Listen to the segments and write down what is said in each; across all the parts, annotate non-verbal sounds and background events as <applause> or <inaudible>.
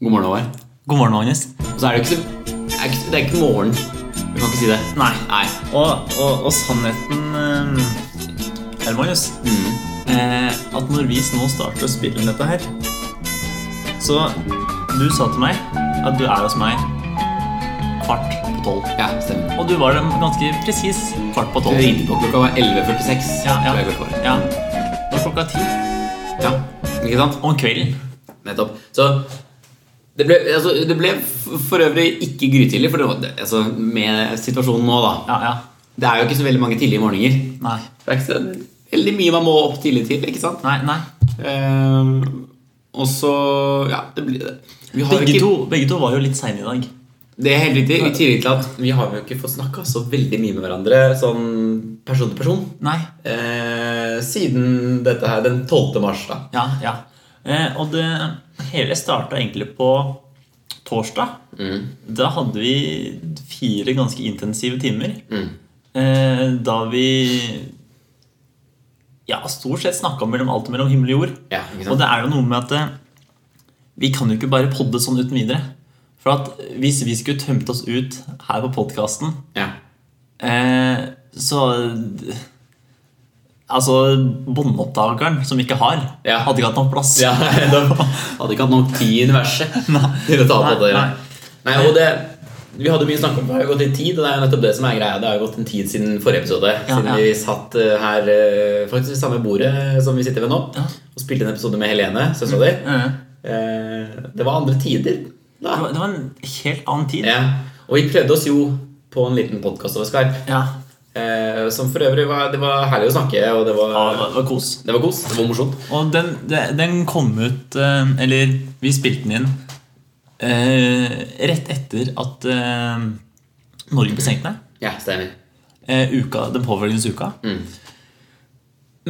God morgen, Håvard. God morgen, Magnus. Og så er det jo ikke så det er ikke, det er ikke morgen. Vi kan ikke si det. Nei. Nei. Og, og, og sannheten eh, Herr Magnus, Mm. eh, at når vi nå starter å spille inn dette her Så du sa til meg at du er hos meg kvart på tolv. Ja, stemmer. Og du var det ganske presis kvart på Du tolv. ringte på klokka var 11.46. Ja, ja. tror jeg klokka var. Ja. Det var klokka ti ja. Ikke sant? om kvelden. Nettopp. Så det ble, altså, det ble f- for øvrig ikke grytidlig, for det var, det- altså, med situasjonen nå, da. Ja, ja. Det er jo ikke så veldig mange tidlige morgener. Nei. Det er ikke så veldig mye man må opp tidlig til, ikke sant? Nei, nei. Ehm, og så Ja, det blir det. Vi har jo Begge ikke, to, begge to var jo litt seine i dag. Det er helt riktig. I tillegg til at vi har jo ikke fått snakka så veldig mye med hverandre sånn person til person. Nei. Eh, siden dette her, den 12. mars, da. Ja, ja. Eh, og det hele starta egentlig på torsdag. Mm. Da hadde vi fire ganske intensive timer. Mm. Eh, da vi ja, stort sett snakka mellom alt mellom himmel og jord. Ja, ikke sant? og det er jo noe med at eh, vi kan jo ikke bare podde sånn uten videre. For at hvis vi skulle tømt oss ut her på podkasten Ja. Eh, så Altså, båndopptakeren som vi ikke har, Ja. hadde ikke hatt noen plass. Ja, <laughs> da hadde ikke hatt nok tid i universet <laughs> til å ta på Nei, det. nei. Nei, og det vi hadde mye snakk om, det har jo gått en tid, og det er jo nettopp det som er greia. Det har jo gått en tid siden forrige episode, Ja, siden ja. vi satt eh, her eh, faktisk ved samme bordet som vi sitter ved nå, Ja. og spilte en episode med Helene, søstera di. Eh, Eh, Det var andre tider Det, da. var, det var en helt annen tid. Ja. Og vi prøvde oss jo på en liten podkast over Skype, Ja. eh, som for øvrig var, det var herlig å snakke, og det ja, var, det var kos. det var kos. Det var morsomt. Og den, de- den kom ut eh, Eller vi spilte den inn eh, rett etter at eh, Norge ble stengt ned. Ja, stemmer. Eh, uka, den påfølgende uka.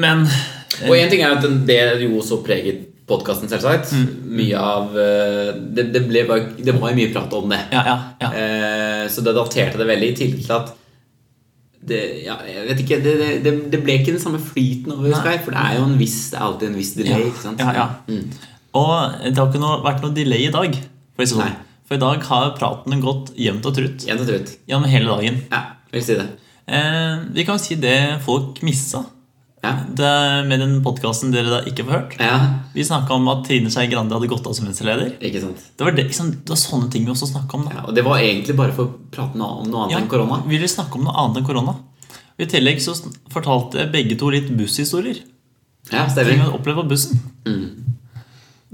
Men eh, Og en ting er at den- det jo så preget podkasten, selvsagt. Mm. Mye av eh, Det, det, ble, bare- det var jo mye prat om det. Ja, ja. ja. Eh, Så det daterte det veldig, i tillegg til at det, ja, jeg vet ikke, det, det- det, det ble ikke den samme flyten over Skype, for det er jo en viss, det er alltid en viss delay. Ja, Ikke sant? ja, ja. Mm. Og det har ikke noe, vært noe delay i dag. For, å si det sånn. Nei. for i dag har praten gått jevnt og trutt Jevnt og trutt. gjennom hele dagen. Ja, vil si det. Eh, vi kan jo si det folk missa Ja. det, med den podkasten dere da ikke får hørt. ja, Vi snakka om at Trine Skei Grande hadde gått av som venstreleder. ikke sant. Det var, det, ikke sant? det var sånne ting vi også snakka om. da. Ja, og det var egentlig bare for å prate noe- om noe annet Ja, enn korona. Vi ville snakke om noe annet enn korona. Og I tillegg så sn- fortalte begge to litt busshistorier. Ja, Ting vi stemmer. hadde opplevd på bussen.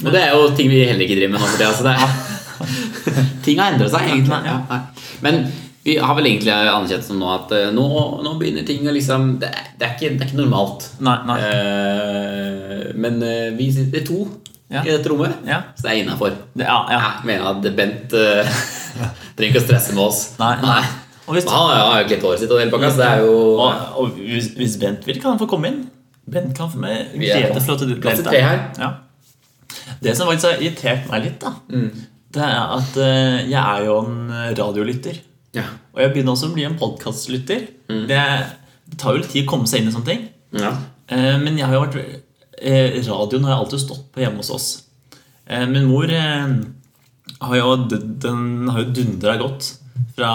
Og det er jo ting vi heller ikke driver med nå for tida. Så det er, <laughs> ting har endra seg, egentlig. Ja, nei. Men vi har vel egentlig anerkjent som nå at eh, nå, nå begynner ting å liksom det er, det, er ikke, det er ikke normalt. Nei, nei. Eh, men eh, vi sitter to Ja. i dette rommet, Ja. så det er innafor. Det, ja, ja. Jeg mener at Bent eh, <laughs> trenger ikke å stresse med oss. Nei, nei. Og hvis- Men Han har jo klippet håret sitt og hele pakka, så det er jo Og, og hvis, hvis Bent vil, kan han få komme inn. Bent kan få med Vi er glede på for at du plass til deltar. tre her. Ja. Det som faktisk har irritert meg litt, da, Mm. det er at eh, jeg er jo en radiolytter. ja. Og jeg begynner også å bli en podkastlytter. Mm. Det, det tar jo litt tid å komme seg inn i sånne ting. Ja. Eh, men jeg har jo vært eh, Radioen har jeg alltid stått på hjemme hos oss. Eh, min mor eh, har jo, den har jo dundra godt fra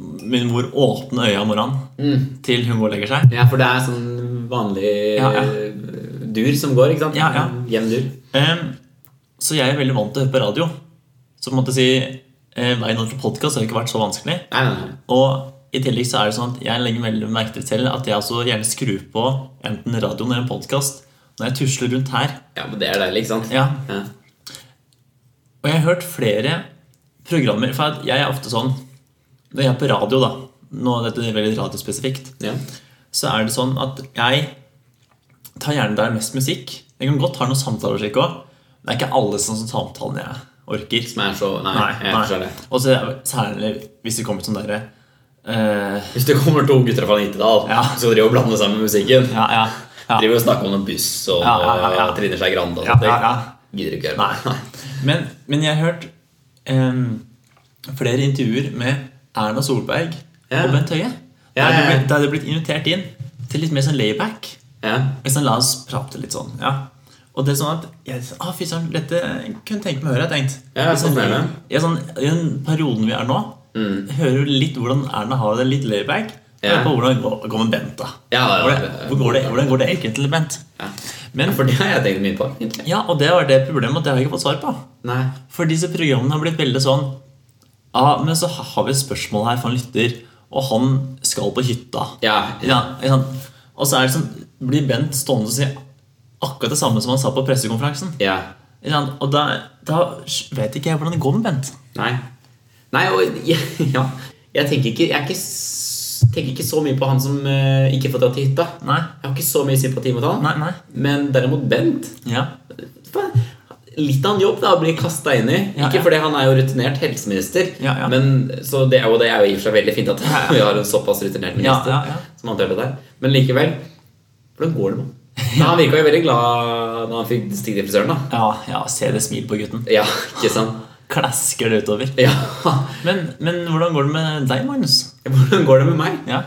min mor åpner øya om morgenen til hun går og legger seg. Ja, for det er sånn vanlig Ja, ja. eh, dur som går, ikke sant? Ja, ja. Jevn dur. Ehm, så jeg er veldig vant til å høre på radio. Så på en måte si eh, veien over til podkast har ikke vært så vanskelig. Nei, nei, nei. Og i tillegg så er det sånn at jeg legger veldig merke til selv at jeg også gjerne skrur på enten radioen eller en podkast når jeg tusler rundt her. Ja, men det er deilig, ikke sant? Ja. Ja. Og jeg har hørt flere programmer For at jeg er ofte sånn Når jeg er på radio, da nå, Dette er veldig radiospesifikt. Ja. så er det sånn at jeg tar gjerne der mest musikk. Jeg kan godt ha noen samtaler og slik også, men det er ikke alle sånne samtalene jeg orker. Som er så Nei, Nei, jeg forstår det. nei. Og så er det særlig hvis det kommer sånn derre eh, Hvis det kommer to gutter fra Nittedal Ja. som skal drive og blande sammen musikken Ja, ja. ja. Driver og snakker om noen buss og Ja, ja, ja, ja. Trine Skei Grande og Ja, sånt. ja, ja. Gidder ikke høre på. Nei. Men, men jeg har hørt em, flere intervjuer med Erna Solberg Ja. og Bent Høie. Ja, Der ja, det ja. ble- Der det er blitt invitert inn til litt mer sånn layback. <laughs> Ja. Men sånn, la oss prate litt sånn. Ja. Og det er sånn at jeg, ah, fy søren, dette kunne jeg tenke meg å høre, har jeg tenkt. Ja, sånn, fascinerende. jeg, sånn, I den perioden vi er nå, hører du litt hvordan Erna har det litt layback. Mm. Ja. Og på hvordan går, går med Bent, da. Ja, ja, ja. Hvordan, hvor går det, hvordan går det egentlig til Bent? Men, For det har jeg tenkt mye på. egentlig. ja, og det var det problemet at det har jeg ikke fått svar på. Nei. For disse programmene har blitt veldig sånn Ja, men så har vi et spørsmål her fra en lytter, og han skal på hytta. Ja. ikke sant? Og så er det sånn, blir Bent stående og si akkurat det samme som han sa på pressekonferansen. Ja. Ikke sant? Og da, da vet ikke jeg hvordan det går med Bent. Nei. Nei, og ja, <laughs> ja. Jeg tenker ikke, jeg er ikke, s- tenker ikke så mye på han som eh, ikke får dra til hytta. Nei. Jeg har ikke så mye sympati mot han. Nei, nei. Men derimot Bent Ja. faen, Litt av en jobb da, å bli kasta inn i. Ja, ikke ja. fordi han er jo rutinert helseminister, Ja, ja. Men, så det, er jo- det er jo i og for seg veldig fint at <laughs> vi har en såpass rutinert Ja, minister. ja, ja. Som han tør det der Men likevel, hvordan går det med han? Men Han virka jo veldig glad da han fikk stige til frisøren. da ja, ja, se det smil på gutten. Ja, ikke sant? Klasker det utover. Ja. <laughs> Men, men hvordan går det med deg, Magnus? Hvordan går det med meg? Ja,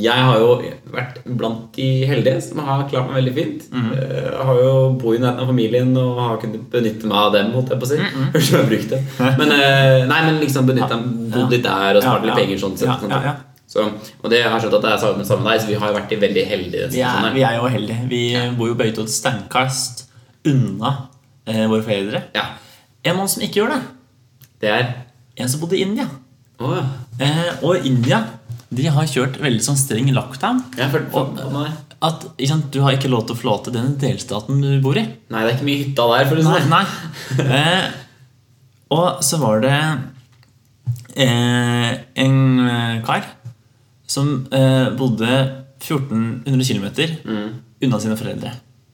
Jeg har jo vært blant de heldige som har klart meg veldig fint. Mhm. Eh, har jo bor i nærheten av familien og har kunnet benytte meg av dem. Holdt jeg på å si. Mhm. Høres ut som jeg har brukt det. <laughs> Men, eh, nei, men liksom benytte meg bodd litt der og spart Ja, litt ja. penger. sånn sett. Ja, sånn ja, sett. ja. Så, og det har jeg skjønt at det er sammen, sammen med deg, så vi har jo vært de veldig heldige. Vi er, situasjonene. vi er jo heldige. Vi bor jo begge to et steinkast unna eh, våre foreldre. Ja, En mann som ikke gjør det, det er en som bodde i India. Å ja. Eh, og India de har kjørt veldig sånn streng lockdown. Jeg har følt Og- på meg. At ikke sant, Du har ikke lov til å forlate den delstaten du bor i. Nei, det er ikke mye hytta der, for å si Nei, det sånn. nei. Eh, og så var det eh, en eh, kar som eh, bodde 1400 km unna sine foreldre.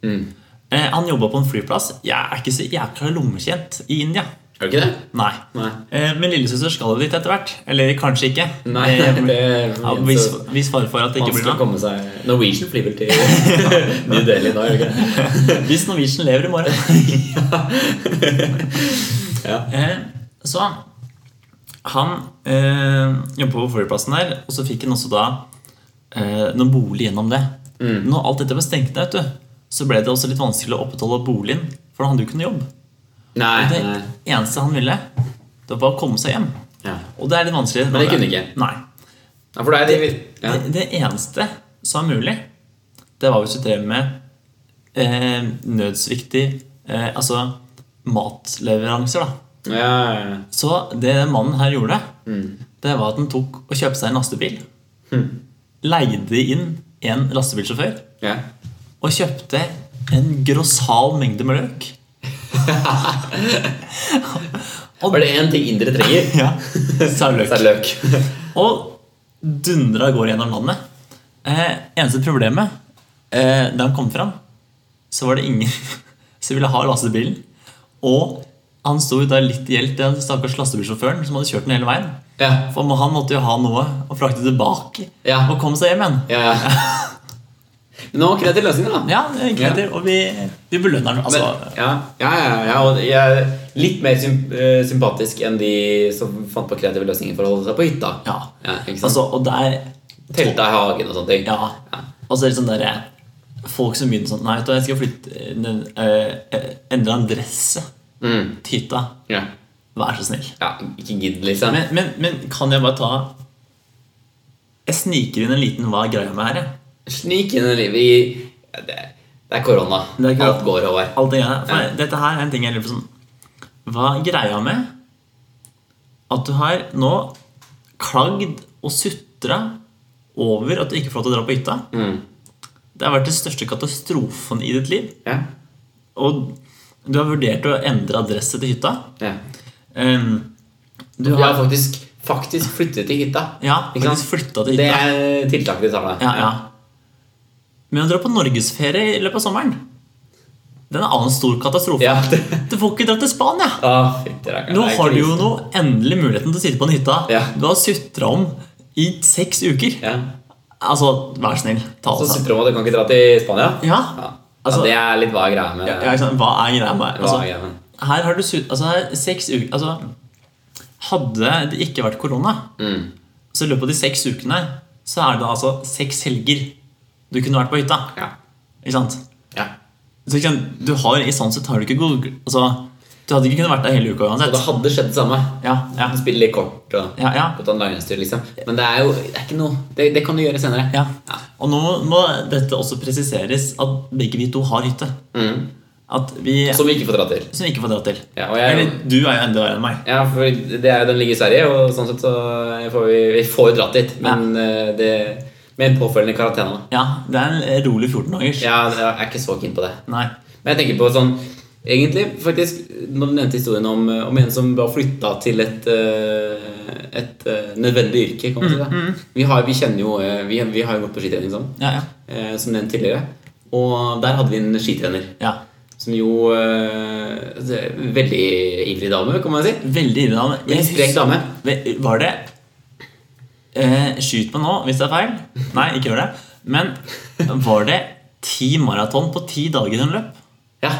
Mm. Eh, han jobba på en flyplass. Jeg er ikke så jækla lommekjent i India. Er det ikke det? Nei. Nei. Eh, men lillesøster skal jo dit etter hvert. Eller kanskje ikke. Nei, Eh, det er ja, hvis, altså, hvis fare for at det ikke vanskelig blir å noe. komme seg Norwegian flyr vel til <laughs> New Delhi nå, gjør det ikke det? Hvis Norwegian lever i <laughs> morgen. Ja. eh, så han eh, jobba på flyplassen der, og så fikk han også da eh, noen bolig gjennom det. Mm. Når alt dette ble stengt ned, vet du, så ble det også litt vanskelig å opprettholde boligen. For han hadde jo ikke noe jobb. Nei, Det nei. eneste han ville, det var å komme seg hjem. Ja. Og det er litt vanskelig. Men det kunne ikke. Nei. Ja, for det er de, ja. Det, det eneste som var mulig, det var hvis du drev med eh, nødsviktig eh, Altså matleveranser, da. Ja, ja, ja. Så det mannen her gjorde, det var at han tok og kjøpte seg en lastebil. Hm. Leide inn en lastebilsjåfør ja. og kjøpte en grossal mengde med løk. Var det én ting indere trenger, Ja, <laughs> sa løk. så er det løk. Og dundra går gjennom landet. Eh, eneste problemet eh, Da han kom fram, så var det ingen <laughs> som ville ha lastebilen. Og han sto jo da litt i hjelp til den stakkars lastebilsjåføren som hadde kjørt den hele veien. Ja. For han måtte jo ha noe å frakte tilbake Ja. og komme seg hjem igjen. ja, ja. Men nå kreativ løsning, da. Ja, det gikk Ja. etter, Og vi, vi belønner den. Men, Altså, ja, ja, ja, ja, og jeg er litt mer symp eh, sympatisk enn de som fant på kreative løsninger for å holde seg på hytta. ja. ikke sant? altså, og der Telta i hagen og sånne ting. Ja. Og så er det sånn derre Folk som begynner sånn Nei, vet du, hva, jeg skal flytte eh, den, eh, eh, Endre adresse Mm. til hytta. Ja. Vær så snill. ja. Ikke gidd, liksom. Men, men, men kan jeg bare ta Jeg sniker inn en liten hva er greia med her, jeg. Snik inn i livet i ja, det, det er korona. Det er ikke- Alt går over. Alt det greiene. For Ja. dette her er en ting jeg lurer på sånn Hva er greia med at du har nå klagd og sutra over at du ikke får lov til å dra på hytta? Mm. Det har vært den største katastrofen i ditt liv. Ja. Og du har vurdert å endre adresse til hytta. Ja. Ehm, du Jeg har har faktisk, faktisk flyttet til hytta. ja, Ikke sant? faktisk flytta til Det hytta. er tiltaket de tar deg. Ja, ja. Men å dra på norgesferie i løpet av sommeren Det er en annen stor katastrofe. Ja, <laughs> det... Du får ikke dra til Spania! Å, fytti rakkeren, Nå det er har du krise. jo nå endelig muligheten til å sitte på en hytta Ja. du har sutra om i seks uker. ja. Altså, vær snill, ta Så det sammen. sitter du om at du kan ikke dra til Spania? Altså- Ja. Ja, Altså- ja, det er litt hva er greia med Ja, ikke sant? Hva er greia med Hva altså, er greia med Her har du sut... Altså, her, seks uker Altså, hadde det ikke vært korona, Mm. så i løpet av de seks ukene så er det altså seks helger du kunne vært på hytta. Ja. Ikke sant? Ja. Så ikke sant, du har, I sånn sett har du ikke Google altså, Du hadde ikke kunnet vært der hele uka Og uansett. det hadde skjedd det samme. Ja, ja, Han spiller litt kort og ja, ja. gått online-styr, liksom. Men det er jo det er ikke noe Det, det kan du gjøre senere. Ja. Og nå må dette også presiseres at begge vi to har hytte. Mm. At vi Som vi ikke får dra til. som vi ikke får dra til. Ja, og jeg- Eller du er jo enda verre enn meg. Ja, for det er jo den ligger i Sverige, og sånn sett så får vi, vi får jo dratt dit. Men eh, det med en påfølgende karantene. da. Ja, Det er en rolig 14-dagers. Ja, jeg er ikke så keen på det. Nei. Men jeg tenker på sånn Egentlig, faktisk, når du nevnte historien om, eh, om en som var flytta til et, eh, et eh, nødvendig yrke, kan man si. Da. Vi, har, vi kjenner jo eh, vi, vi har jo gått på skitrening sammen, Ja, ja. eh, som nevnt tidligere. Og der hadde vi en skitrener ja. som jo eh, det er en Veldig ivrig dame, kan man si. Veldig irriterende. Jeg Veldig sprek husker- dame. Ve- Var det eh, Skyt meg nå hvis det er feil. Nei, ikke gjør det. Men var det ti maraton på ti dager hun løp? Ja,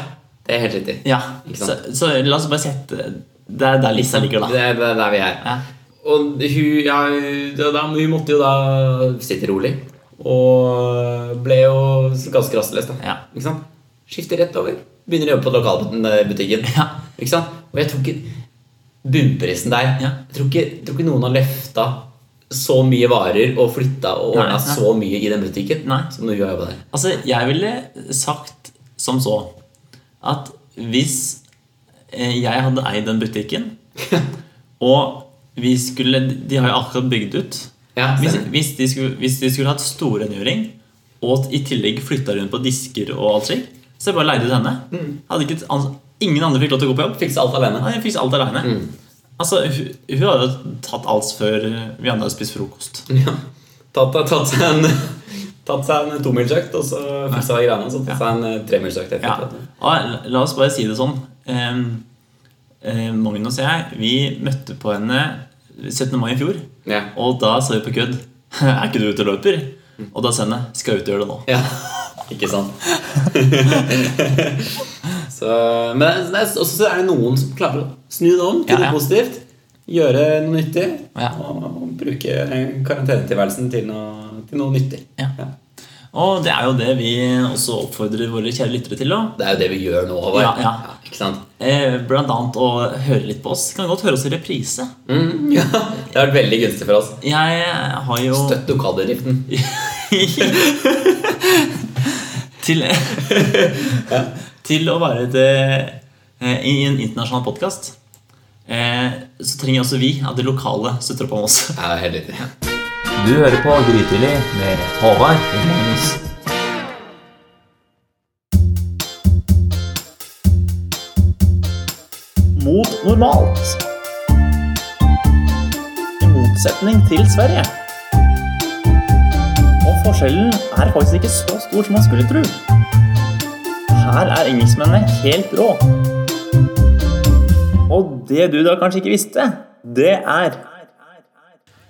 det er helt riktig. Ja. Ikke Så, sant? så la oss bare sette Det er der lista ligger, Det da. er, det er der vi er. Ja. Og hun, ja, da, da- hun måtte jo da sitte rolig. Og øh, ble jo ganske rastløs, da. Ja. Ikke sant? Skifter rett over. Begynner å jobbe på lokalbutikken. Ja. Ikke sant? Og jeg tror ikke Bunnprisen der Ja. jeg, tror ikke, jeg tror ikke noen har løfta så mye varer og flytta og Nei, ordna nei. så mye i den butikken Nei. som når hun har jobba der. Altså, jeg ville sagt som så at hvis eh, jeg hadde eid den butikken, <laughs> og vi skulle De har jo akkurat bygd ut. Ja, Hvis, stemmer. hvis, de skulle, hvis de skulle hatt storrengjøring, og i tillegg flytta rundt på disker og alt slik, så jeg bare leide ut henne. Mm. Hadde ikke, an- ingen andre fikk lov til å gå på jobb. Fikse alt alene. Nei, jeg fikset alt aleine. Mm. Altså, hun, hun hadde jo tatt alt før vi andre hadde spist frokost. Ja. Tatt, tatt seg en Tatt seg en tomilsøkt, og så fiksa greiene. Og så tatt seg en eh, tremilsøkt Ja. etterpå. Og la oss bare si det sånn. Ehm, eh, Magnus og jeg vi møtte på henne 17. mai i fjor. Ja. Og da sa vi på kødd <laughs> Er ikke du ute og løper? Og da sa henne Skal jeg ut og gjøre det nå. Mm. Ja, ikke sant? så, men det er, også så er det noen som klarer å snu det om til Ja, ja. noe positivt. Gjøre noe nyttig. Ja. Og, og bruke karantenetilværelsen til noe, til noe nyttig. Ja. Og det er jo det vi også oppfordrer våre kjære lyttere til. da. Det er jo det vi gjør nå. Håvard. Ja, ja. ikke sant? Eh, Blant annet å høre litt på oss. Kan godt høre oss i reprise. Mm, ja. Det har vært veldig gunstig for oss. Jeg har jo Støtt lokalbedriften. <laughs> til, <laughs> til å være et, eh, i en internasjonal podkast så trenger også vi at det lokale støtter opp om oss. Ja, helt riktig. Du hører på Grytidlig med Håvard og Magnus. Mot normalt. I motsetning til Sverige. Og forskjellen er faktisk ikke så stor som man skulle tro. Her er engelskmennene helt rå. Og det du da kanskje ikke visste, det er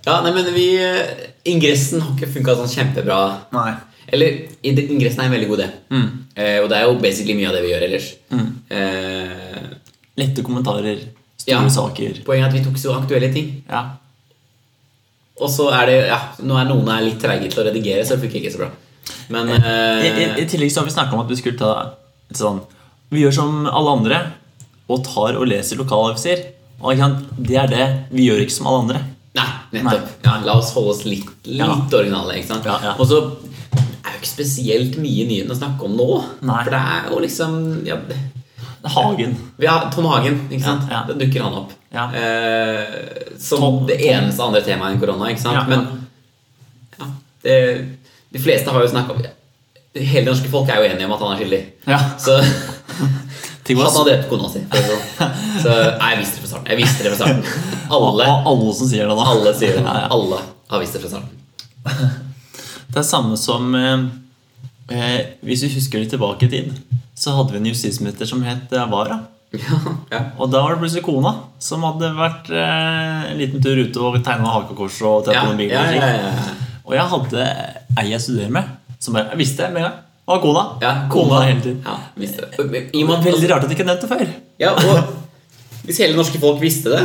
Ja, nei, men vi eh, Ingressen har ikke funka sånn kjempebra. Nei. Eller i- ingressen er en veldig god idé. Mm. Eh, og det er jo basically mye av det vi gjør ellers. Eh, Lette kommentarer, store Ja. saker. Poenget er at vi tok så aktuelle ting. Ja. Og så er det ja, nå er noen er litt treige til å redigere, så det funker ikke så bra. Men eh, I, i, I tillegg så har vi snakka om at vi skulle ta et sånn Vi gjør som alle andre og tar og leser lokalaviser. Og ikke sant, det er det. Vi gjør ikke som alle andre. Nei, nettopp. Ja, la oss holde oss litt, litt Ja. originale. ikke sant? Ja, ja. Og så er jo ikke spesielt mye nyheten å snakke om nå. Nei. For det er jo liksom ja, Hagen. vi har Tom Hagen, ikke sant? Ja, ja. Da dukker han opp. Ja. Eh, som Tom- det eneste andre temaet enn korona, ikke sant? Ja. Men ja, det, de fleste har jo snakka om Hele det norske folk er jo enige om at han er skyldig. Ja. <laughs> Så Ting var Han har drept kona si. for å si det sånn. Så nei, jeg visste det fra starten. Jeg visste det fra starten. Alle, Og alle som sier det, da. alle sier det. <laughs> Ja, ja. Alle har visst det fra starten. Det er samme som eh, eh, Hvis vi husker litt tilbake i tid, så hadde vi en justisminister som het eh, Wara. Ja, ja. Og da var det plutselig kona som hadde vært eh, en liten tur ute og tegna hakekors og tatt Ja, på ja, noen bilder. og sånn. ja, slik. ja, ja. Og jeg hadde ei jeg studerer med, som bare jeg visste det med en gang. Det var kona. Ja, kona hele tiden. Ja, visste det. Men I og Det var med at- veldig rart at de ikke nevnte det <laughs> før. ja, og hvis hele det norske folk visste det,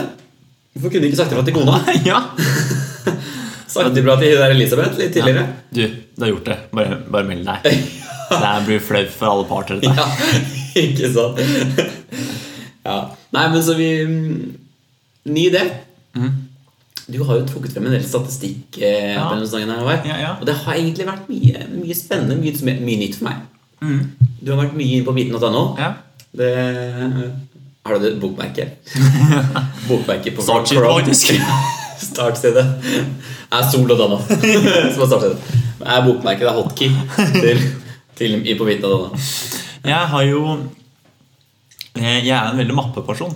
hvorfor kunne de ikke sagt det fra til kona? ja. Sagt det bra til hun der Elisabeth litt tidligere? <laughs> Du, du har gjort det. Bare, bare meld deg. Det her blir flaut for alle parter. dette. Ja, <laughs> ikke sant? Ja. Nei, men så vi mm, Ny idé. Du har jo trukket frem en del statistikk. Eh, Mhm. Ja. på denne sesongen her, Håvard. Ja, ja. Og det har egentlig vært mye, mye spennende, mye, som er- mye nytt for meg. Du har vært mye inne på viten.no. Mm. Ja. Det Har du et bokmerke? <laughs> bokmerke på Startsheet, Chrome. <laughs> faktisk. Startstedet er Sol og <laughs> Danna som er startstedet. Det er bokmerket, det er hotkey til, til i på viten.no. Jeg har jo eh, Jeg er en veldig mappeperson.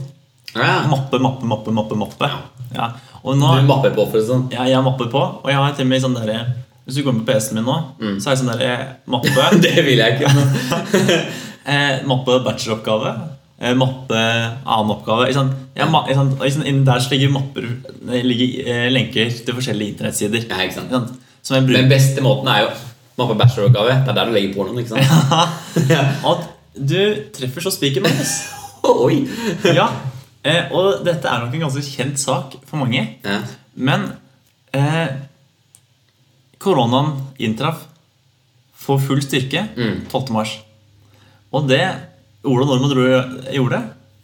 Ja. Mappe, mappe, mappe, mappe. mappe ja. Og nå, Du mapper på for å si det sånn. <laughs> ja, Jeg har mappe på, og jeg har til og med sånn derre Hvis du går inn på PC-en min nå, Mm. så har jeg sånn derre mappe. Det vil jeg ikke. eh, mappe bacheloroppgave. Eh, mappe annen oppgave. Ikke sant? Jeg, ma- ikke sant? Og ikke sant? Innen der så ligger mapper det ligger, eh, lenker til forskjellige internettsider. Ja, ikke sant. Ikke sant? Som jeg Den bruker. beste måten er jo mappe bacheloroppgave. Det er der du legger pornoen, ikke <laughs> sant? At du treffer så spiken, <laughs> Magnus. Oi! ja. Eh, og dette er nok en ganske kjent sak for mange. Ja. Men eh, koronaen inntraff for full styrke Mm. 12. mars. Og det Ola Nordmann dro, eh, gjorde,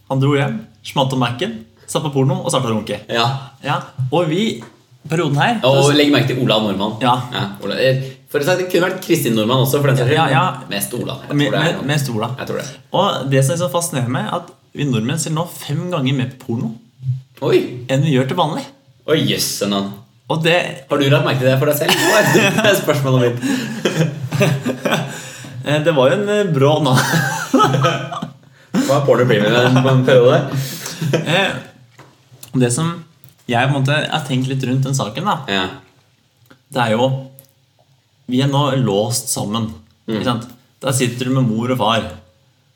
han dro hjem, smalt om Mac-en, satt på porno og starta å runke. ja. Ja, og vi, perioden her Og legg merke til Ola Nordmann. Ja. Ola. eh, For å si, Det kunne vært Kristin Nordmann også. for den saks skyld. Ja, ja. Mest Ola. Jeg tror med, det er med, noe. med stola. Jeg tror det. Og det som er så fascinerende med, er at vi nordmenn ser nå fem ganger mer på porno Oi! enn vi gjør til vanlig. Oi, jøsse navn. Og det Har du lagt merke til det for deg selv? Det <laughs> er spørsmålet mitt. Eh, Det var jo en eh, brå na... <laughs> Hva er porno premium i den- på en periode? Eh, Det som jeg på en måte har tenkt litt rundt den saken, da, Ja. <laughs> det er jo Vi er nå låst sammen. Mm. Ikke sant? Der sitter du med mor og far.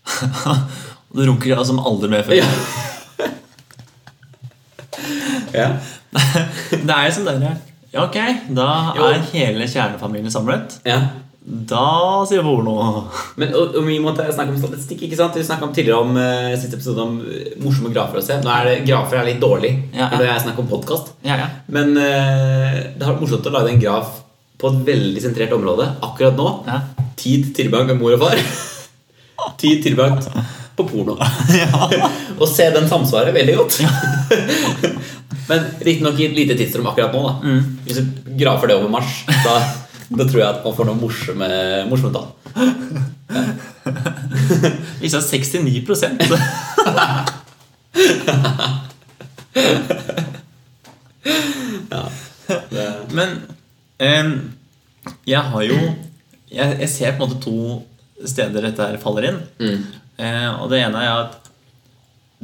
<laughs> og du runker ja, som aldri mer før. Ja. ja. Det er jo sånn derre Ja, ok, da Jo. er hele kjernefamilien samlet. ja. Da sier vi porno. Men og, og Vi måtte snakke om statistikk. ikke sant? Vi snakket om tidligere om eh, siste episode om eh, morsomme grafer å se. Nå er det, Grafer er litt dårlig Ja, ja. når det er snakk om podkast. Ja, ja. Men eh, det har vært morsomt å lage en graf på et veldig sentrert område akkurat nå. Ja. Tid tilbrakt med mor og far. <laughs> Tid tilbrakt på porno. <laughs> og se den samsvaret veldig godt. <laughs> Men riktignok i et lite tidsrom akkurat nå. da Mm. Hvis du grafer det over mars, da, da tror jeg at man får noen morsomme, morsomme tall. Vi sa 69 Det- <laughs> Men em, jeg har jo jeg, jeg ser på en måte to steder dette her faller inn. Eh, og det ene er at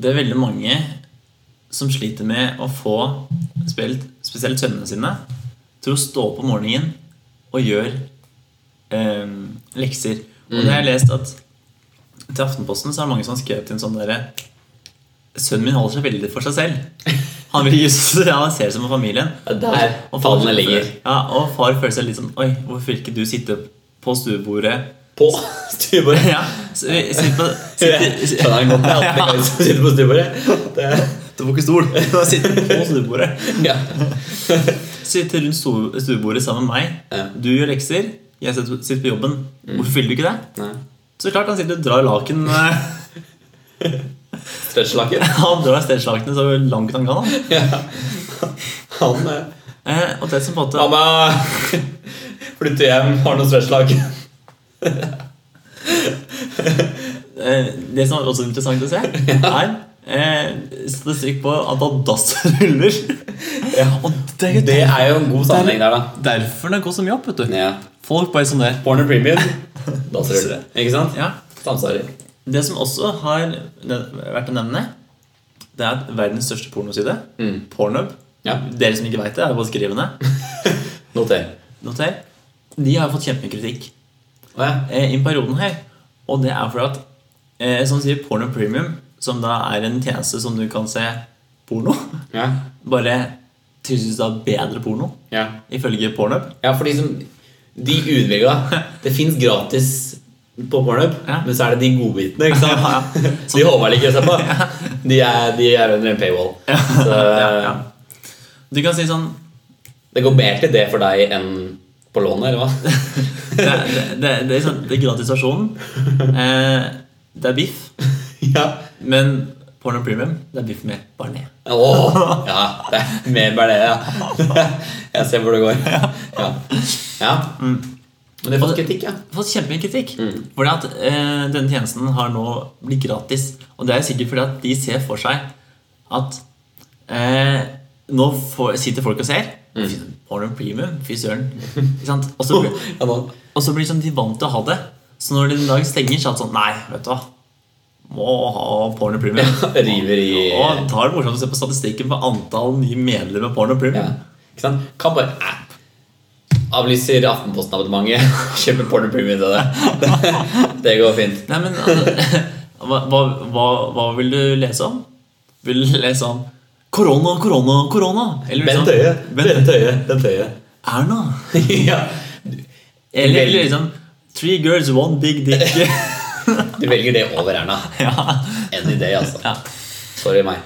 det er veldig mange som sliter med å få spilt, spesielt sønnene sine til å stå opp om morgenen og gjøre em, lekser. Og det Mm. har jeg lest at til Aftenposten så er det mange som har skrevet inn sånn derre Sønnen min holder seg veldig for seg selv. Han vil just, <laughs> ja, han ser det som om familien. Ja, der Og far- tallene ligger. Ja, og far føler seg litt sånn Oi, hvorfor ikke du sitte på stuebordet? <laughs> På stuebordet. Ja, s- sitt på Skjønner han godt. Det er alltid mange som sitter på stuebordet. Det- <laughs> Du får ikke stol. Da sitter du <laughs> på stuebordet. Ja. Sitte rundt sto- stuebordet sammen med Ja. meg. Du gjør lekser, jeg sitter sitter på jobben. Hvorfor vil du ikke det? Nei. Så klart han sitter og drar laken eh, <laughs> Stretchlaken. Han drar stedslakene så langt han kan. han. Ja. Han eh, Eh, Og det som på en måte Mamma! Flytter hjem, har noen stretchlag. eh, Det som er også interessant å se, <laughs> er eh, statistikk på antall dassruller. Ja. Og det er jo Det er jo en god sammenheng der, da. derfor det går så mye opp, vet du. Ja. Folk bare sånn der. Porno premium. Danserull. Ikke sant? Ja. Samsvarer. Det som også har vært å nevne, det er at verdens største pornoside, Pornhub Ja. Dere som ikke veit det, er jo bare skrivende. Noter. Noter. De har jo fått kjempemye kritikk Å ja. eh, i perioden her. Og det er fordi at eh, som sier Pornhub Premium, som da er en tjeneste som du kan se porno <laughs> Ja. Bare tilsyns av bedre porno, ja. ifølge Pornhub. ja for de som De <laughs> uinnvilga. Det fins gratis på Pornhub, Ja. men så er det de godbitene. ikke sant? <laughs> Ja, ja. <laughs> De Håvard liker å <laughs> se på. De er, de er under en paywall. Så eh, Ja, ja. Du kan si sånn det går mer til det for deg enn På lånet, eller hva? <laughs> Det, er- det, det, det, er sånn- det er gratisversjonen. Eh, det er biff, ja. men Porno Premium det er biff med bearnés. Åh, ja, det er mer bare det, ja. <laughs> Jeg ser hvor det går. Ja. ja. Mm. Men det har fått kritikk, ja. fått kjempemye kritikk. Mm. Fordi at eh, denne tjenesten har nå blitt gratis. Og det er jo sikkert fordi at de ser for seg at eh, Nå får, sitter folk og ser. Mm. Pornhub Premium, fy søren. Ikke sant? Og så blir, <laughs> Ja, nå. og så blir liksom de vant til å ha det. Så når de en dag stenger, så er det sånn Nei, vet du hva. Må ha Pornhub Premium. <laughs> River i Og da er det morsomt å se på statistikken på antall nye medlemmer av Pornhub ja. Premium. Ikke sant? Kan bare eh, Avlyser Aftenposten-abonnementet. Kjøper Porno Premium til det. <laughs> det. Det går fint. Nei, men altså, <laughs> hva, hva- hva, hva vil du lese om? Vil du lese om korona, korona, korona? Eller liksom, Bent Høie. Bent Høie. Erna? <laughs> ja. Eller, Vel- eller liksom Three girls, one big dick. <laughs> Du velger det over Erna. ja. Any day, altså. ja. Sorry meg.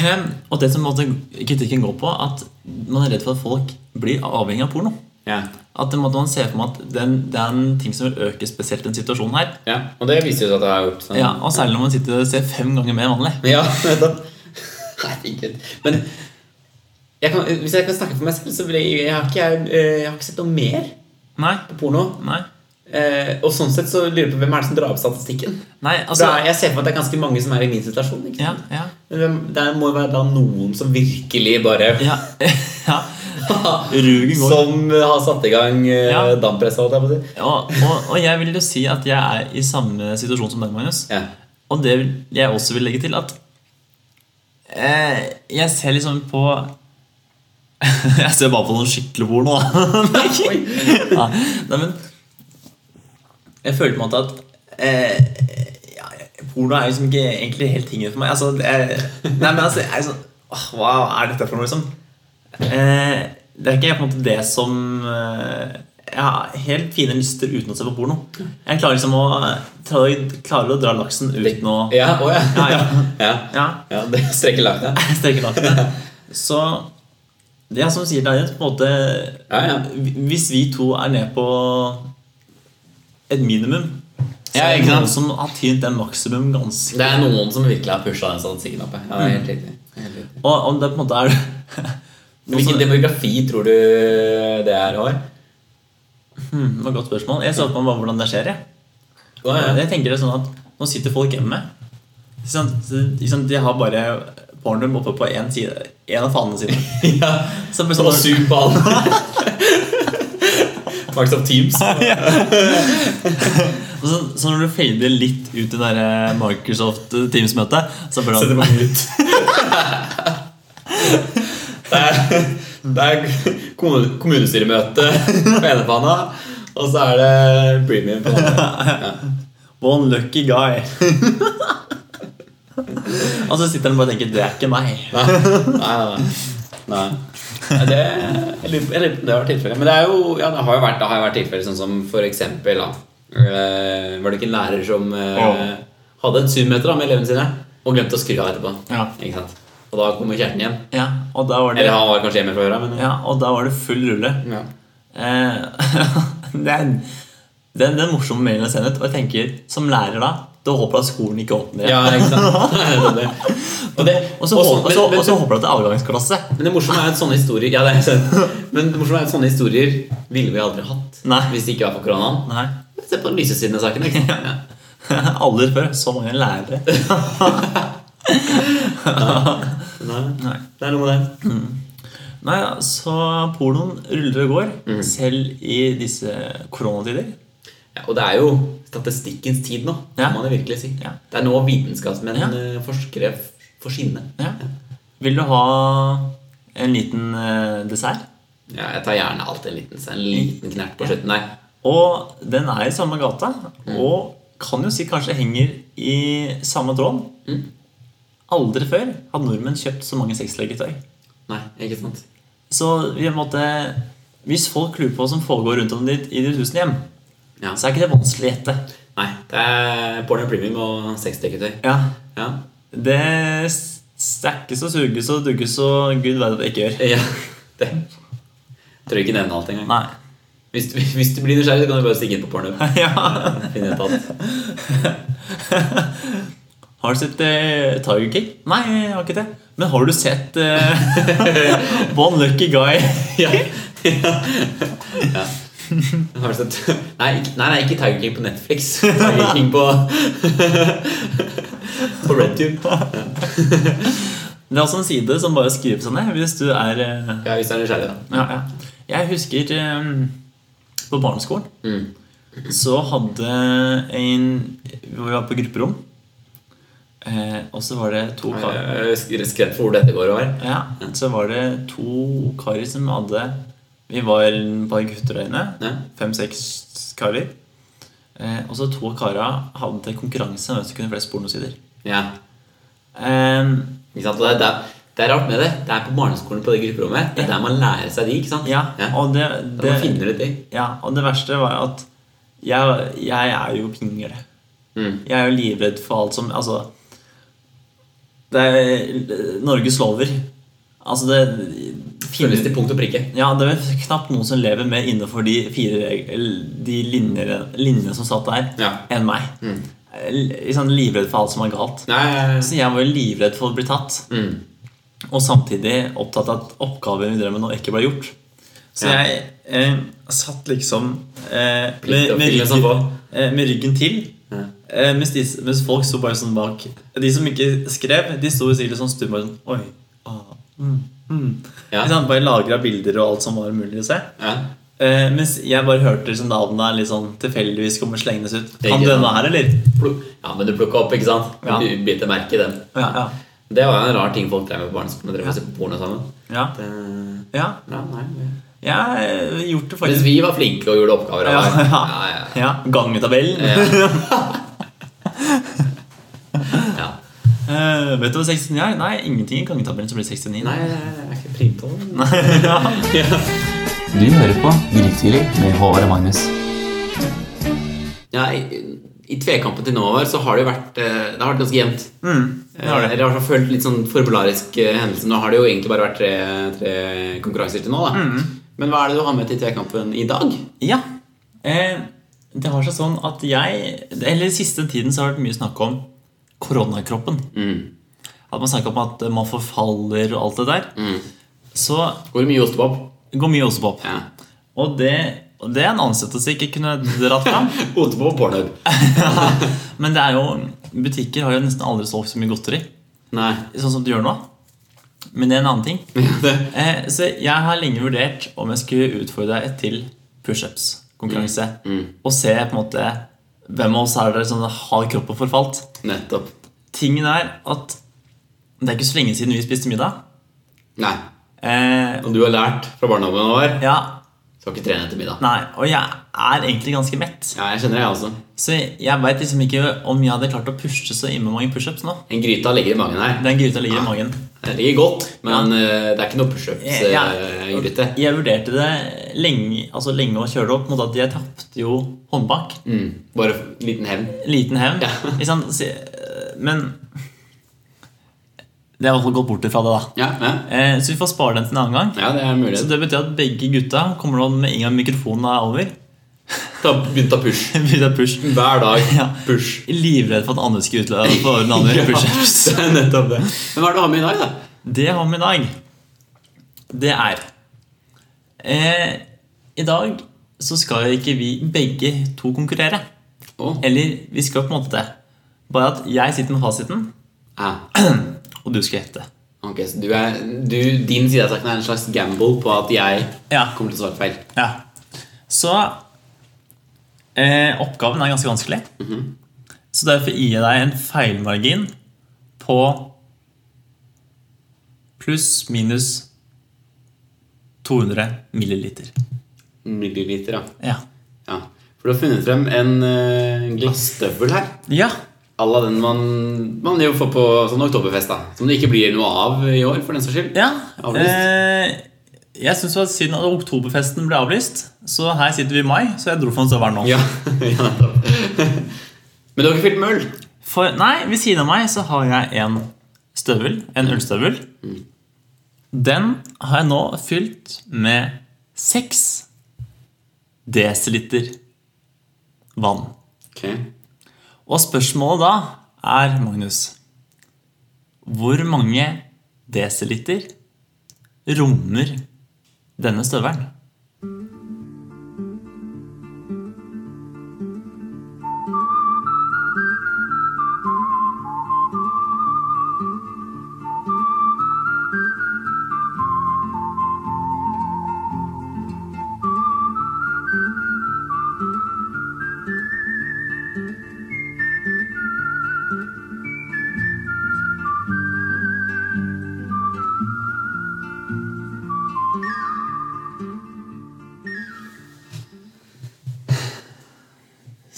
Hem, Og det som på en måte kritikken går på, at man er redd for at folk blir avhengig av porno. Ja. At det måtte man se for meg at den, det er en ting som vil øke spesielt den situasjonen her. ja. Og det viser jo seg at det har gjort sånn. Ja, Og særlig når man sitter og ser fem ganger mer enn vanlig. Ja, nettopp. <laughs> Herregud. Men jeg kan, hvis jeg kan snakke for meg selv, så vil jeg, jeg, har ikke, jeg, eh, jeg har ikke sett noe mer Nei, på porno. nei, Eh, og sånn sett så lurer jeg på hvem er det som drar opp statistikken. nei Altså, altså, jeg ser for meg at det er ganske mange som er i min situasjon. Ikke? ja, ja. Men hvem- det må jo være da noen som virkelig bare Ja. <laughs> ja. Rugen <laughs> går. Som har satt i gang eh, Ja. damppresset, holdt jeg på å si. Og, og, og jeg vil jo si at jeg er i samme situasjon som deg, Magnus. Ja. Og det vil- jeg også vil legge til, at eh, jeg ser liksom på <laughs> Jeg ser bare på noen skikkelig porno, da. <laughs> Nei. Ja, Nei, men Jeg føler på en måte at eh, ja, Porno er liksom ikke egentlig helt tingen for meg. Altså, det er, nei, men altså, jeg er sånn åh, Hva er dette for noe, liksom? Eh, det er ikke på en måte det som eh, Jeg har helt fine lyster uten å se på porno. Jeg klarer liksom å tra- klarer å dra laksen uten å <laughs> Ja, å ja. Ja, ja. <laughs> ja. ja, ja det strekker lagene. strekke laksene. Så det er som du sier, det er jo på en måte Ja, ja. Hvis vi to er ned på et minimum så Ja, er det ikke noen sant? som har tynt den maksimum ganske Det er noen som virkelig har pusha den statistikken opp. ja. Ja, det er helt riktig. Helt riktig. Og om det på en måte er <laughs> Hvilken demografi tror du det er år? Hmm, det var et godt spørsmål. Jeg så på meg bare hvordan det skjer. Jeg. Ja, ja. jeg tenker det sånn at Nå sitter folk hjemme. Ikke sant? Så, ikke sant, De har bare pornoen oppe på én side. En av fanene sine. <laughs> <laughs> ja. Så det blir Som å sånn, suge på <laughs> alle. Microsoft Teams. Og så, så når du fader litt ut i det der eh, Microsoft Teams-møtet, så blir Setter det sånn- på mute. <laughs> Det er, det er kommu- kommunestyremøte på ene panna, og så er det premium på den <laughs> andre. One lucky guy. <laughs> og så sitter han bare og tenker 'det er ikke meg'. Nei, nei, nei. nei. Nei, Det, jeg lurer på- jeg lurer på om det har vært tilfellet. Men det, er jo, ja, det har jo vært, det har jo vært tilfeller sånn som for eksempel da, eh, Var det ikke en lærer som eh, Ja. hadde et Zoom-møte da med elevene sine og glemte å skru av etterpå? Ja. Ikke sant? Og da kommer kjerten hjem. Ja, og da var det, Eller han var kanskje hjemme fra før av, men ja, og da var det full rulle. ja. Eh, <laughs> det er det er den morsomme mailen jeg sender ut. Og jeg tenker, som lærer da, da håper jeg at skolen ikke åpner. Ja, ikke <laughs> sant? Det er det. Og det, Og så og sånn- håper, og så- men- og så håper jeg at det er avgangsklasse. Men det morsomme er at sånne historier Ja, det er sant. Men det morsomme er at sånne historier ville vi aldri hatt Nei. hvis det ikke var for koronaen. Nei. Se på den lyse siden av saken. Ikke sant? Ja. <laughs> Aldri før så mange lærere. Nei. Nei. Det er noe med det. Nei, ja, så pornoen ruller og går, Mm. selv i disse koronatider. Ja, og det er jo statistikkens tid nå, Ja. kan man jo virkelig si. Ja. Det er nå vitenskapsmenn, Ja. eh, forskere, f- får skinne. Ja. Vil du ha en liten eh, dessert? Ja, jeg tar gjerne alltid en liten, en liten knert på slutten der. Og den er i samme gata, og kan jo si kanskje henger i samme tråd. Aldri før hadde nordmenn kjøpt så mange sexleketøy. Nei, ikke sant? Så vi måtte, hvis folk lurer på hva som foregår rundt om i i de tusen hjem, Ja. så er ikke det vanskelig å gjette. Nei, det er porno premium og sexdeketøy. Ja, Ja. det stakkes og suges og dugges og gud vet hva det ikke gjør. ja. Det. Tror jeg ikke nevner alt engang. Nei. <laughs> Hvis, du- hvis du blir nysgjerrig, så kan du bare stikke inn på porno. ja. Finne ut at Har du sett eh, Tiger King? Nei, jeg har ikke det. Men har du sett eh, <laughs> One Lucky Guy? Ja. ja. Har du sett Nei, ikke- nei, nei, ikke Tiger King på Netflix. Tiger King på På RedTube. Det er også en side som bare skriver seg ned hvis du er eh, Ja, hvis du er nysgjerrig, da. ja, ja. Jeg husker eh, på barneskolen Mm. så hadde en Vi var på grupperom, eh, og så var det to karer Jeg er sk- redd for hvor dette går over. Ja, så var det to karer som hadde Vi var et par gutter der inne. Ja. Fem-seks karer. Eh, og så to av kara hadde konkurranse om hvem som kunne flest pornosider. Ja. Eh, Ikke sant? Og det, er der- det er rart med det. Det er på barneskolen på det grupperommet. Det er der man lærer seg de, ikke sant? ja, Ja. og det, Der det man finner ut de. ja, og det verste var at jeg, jeg er jo pingle. Mm. Jeg er jo livredd for alt som Altså det er, Norges lover. Altså, det Føles til punkt og prikke. Ja, det er vel knapt noen som lever mer innenfor de fire reg- eller de linjene, linjene som satt der, Ja. enn meg. Mm. Jeg er li- Liksom livredd for alt som er galt. Nei, nei, nei. Så jeg var jo livredd for å bli tatt, Mm. og samtidig opptatt av at oppgaven vi drev med nå, ikke ble gjort. Så Ja. jeg eh, satt liksom eh, med, Plikt og med, plikt, ryggen, liksom. eh, med ryggen til. Ja. Eh, mens, de, mens folk sto bare sånn bak. De som ikke skrev, de sto sikkert sånn stumme og sånn Oi. Ah, mm, mm. Ja. Ikke sant? Bare lagra bilder og alt som var mulig å se. Ja. Eh, mens jeg bare hørte liksom navnet litt sånn tilfeldigvis kommer slengendes ut. Det er Kan ikke denne sant. her, eller? Plukk- ja, men du plukka opp, ikke sant? Ja. Du biter merke i den. Ja, ja. Det var jo en rar ting folk drev med på barneskolen. Drev og så på porno sammen. Ja, Det, ja. ja, nei, det- Jeg har gjort det Mens faktisk. vi var flinke og gjorde oppgaver. Ja, av det. ja. ja, Ja, Gangetabellen. ja. ja. Eh, vet du hva 69 er? Nei, ingenting i gangetabellen som blir 69. Nei, jeg er ikke printa den. Du hører på Grytidlig med Håvard og Magnus. Ja, i, I tvekampen til nå over så har det jo vært eh, Det har vært ganske jevnt. Mm, det har Eh, det. Eller i hvert fall følt litt sånn formularisk eh, hendelse. Nå har det jo egentlig bare vært tre, tre konkurranser til nå, da. Mm. Men hva er det du har med til tvekampen i dag? Ja. Eh, det har seg sånn at jeg Eller siste tiden så har det vært mye snakk om koronakroppen. Mm. At man snakker om at man forfaller og alt det der. Så Hvor mye ostepop? går mye ostepop. Mm. Ja. <laughs> Og det, og det er en ansettelse jeg ikke kunne dratt <laughs> fram. Ostepop og pornhub. Men det er jo butikker har jo nesten aldri solgt så mye godteri. Nei. <laughs> Sånn som du gjør nå. Men det er en annen ting. Det- Eh, så jeg har lenge vurdert om jeg skulle utfordre deg til pushups-konkurranse. Og se på en måte hvem av oss er det som har kroppen forfalt. Nettopp. Tingen er at det er ikke så lenge siden vi spiste middag. Nei. Eh, Om du har lært fra barndommen over, ja, skal ikke trene etter middag. nei, Og jeg er egentlig ganske mett. Ja, jeg skjønner det, jeg også. Så jeg veit liksom ikke om jeg hadde klart å pushe så innmari mange pushups nå. En gryta ligger i magen her. Den gryta ligger i magen. Den ligger godt, men eh, det er ikke noe eh, Ja. pushups-gryte. Jeg vurderte det lenge, altså lenge å kjøre det opp mot at jeg tapte jo håndbak. Mm. Bare en liten hevn. Liten hevn. Ja. Ikke sant? <laughs> Så- eh, Men Det er i hvert fall gått bort ifra det, da. Ja, ja. Eh, Så vi får spare den til en annen gang. ja, det er en Så mulighet. det betyr at begge gutta kommer nå med en gang mikrofonen er over. <laughs> Ta, begynte å pushe. begynner å pushe. Hver <laughs> dag. Ja. Push. Livredd for at andre skulle utløse for den andre <laughs> Ja. pushups. Det er nettopp det. Men hva er det du har med i dag, da? Det jeg har med i dag, det er eh, I dag så skal ikke vi begge to konkurrere. Å, Eller vi skal på en måte det. Bare at jeg sitter med fasiten, ja. og du skal gjette. Ah. Ok, så du er, du, din side av saken er en slags gamble på at jeg Ja. kommer til å svare feil. Ja. Så eh, oppgaven er ganske vanskelig. Så derfor gir jeg deg en feilmargin på pluss minus 200 milliliter. Milliliter, da. Ja. Ja. For du har funnet frem en uh, glassstøvel her. ja. À la den man, man jo får på sånn oktoberfest, da. Som det ikke blir noe av i år, for den saks skyld. Ja. Avlyst. Eh, jeg synes at Siden at oktoberfesten ble avlyst, så her sitter vi i mai, så jeg dro for en støvel nå. Ja, <laughs> ja nettopp. Men du har ikke fylt med øl? For, nei, ved siden av meg så har jeg en støvel, en ølstøvel. Den har jeg nå fylt med seks desiliter vann. Ok. Og spørsmålet da er, Magnus Hvor mange desiliter rommer denne støvelen?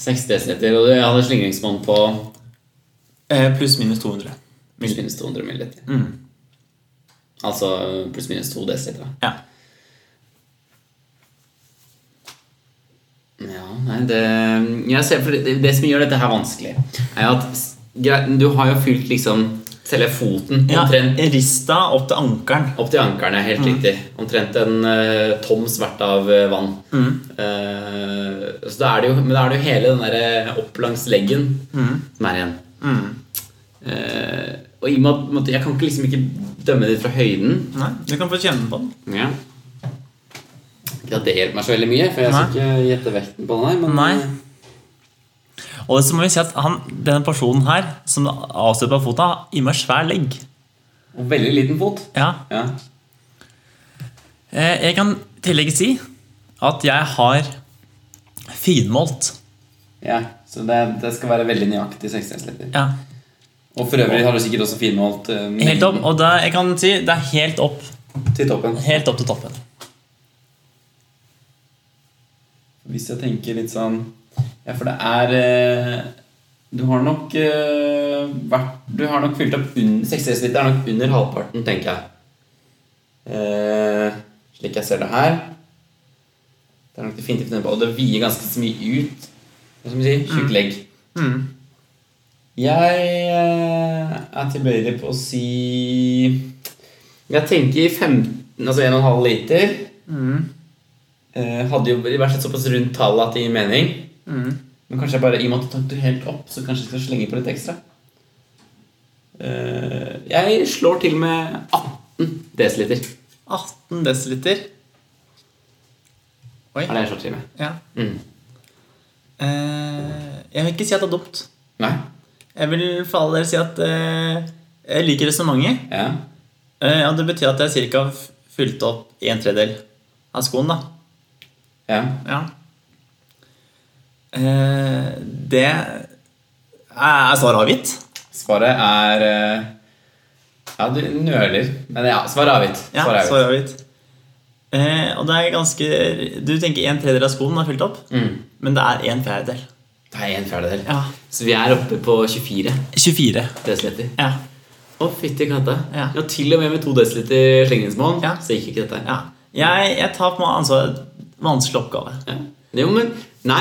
Seks desiliter, og du hadde slingringsmonn på Eh, Pluss minus 200. pluss minus 200 milliliter. Mm. Altså pluss minus 2 desiliter. da. Ja. Ja, nei, det, jeg ser, for det, det som gjør dette her vanskelig, er at s- grei- du har jo fylt liksom selve foten ja omtrent Rista opp til ankelen. opp til ankerne, helt Mm. riktig. Omtrent en eh, tom svert av eh, vann. Mm. Eh, så da er det jo, men da er det jo hele den der eh, opp langs leggen Mm. som er igjen. Eh, og i og med at måtte- jeg kan ikke liksom ikke dømme det fra høyden Nei, du kan få kjenne på den. ja. Ikke at det hjelper meg så veldig mye, for jeg skal ikke gjette vekten på den her. Men eh, Nei. Og så må vi si at han, denne personen her, som avstøper foten, har i meg svær legg. Og veldig liten fot. Ja. Ja. Eh, Jeg kan i tillegg si at jeg har finmålt. ja så det, det skal være veldig nøyaktig 60 cm. Ja. Og for øvrig har du sikkert også finmålt eh, Helt opp, og det, jeg kan si det er helt opp, til toppen. helt opp til toppen. Hvis jeg tenker litt sånn Ja, for det er eh, Du har nok eh, vært Du har nok fylt opp under 60 cm er nok under halvparten, tenker jeg. Eh, slik jeg ser det her. Det er nok definitivt nedpå. Og det vier ganske så mye ut. Hva skal man si? Tjukk legg. Jeg eh, er tilbøyelig på å si Jeg tenker 15 Altså 1,5 liter. Eh, hadde jo i hvert fall såpass rundt tallet at det gir mening. Mm. Men kanskje jeg bare, i og med at du tok det helt opp, så kanskje jeg skal slenge på litt ekstra. Eh, jeg slår til med 18 desiliter. 18 desiliter. Er det jeg slår til med? Ja. Mm. Eh, jeg vil ikke si at det er dumt. Nei? Jeg vil for alle dere si at eh, jeg liker resonnementet. Ja. Eh, og det betyr at jeg ca. fylte opp en tredjedel av skoen, da. Ja. Ja. Eh, det er, er svaret avgitt. Svaret er eh, Ja, du nøler. Men ja, svaret er avgitt. Ja, Svaret er svaret avgitt. Eh, og det er ganske Du tenker en tredjedel av skoen er fylt opp, Mm. men det er en fjerdedel. Det er en fjerdedel. Ja. Så vi er oppe på 24 24. desiliter. Ja. Å, fytti katta. Ja. Ja, til og med med 2 desiliter slingringsmål, Ja. så gikk ikke dette. ja. Jeg, jeg tar på meg ansvaret. Vanskelig oppgave. Ja. Jo, men Nei.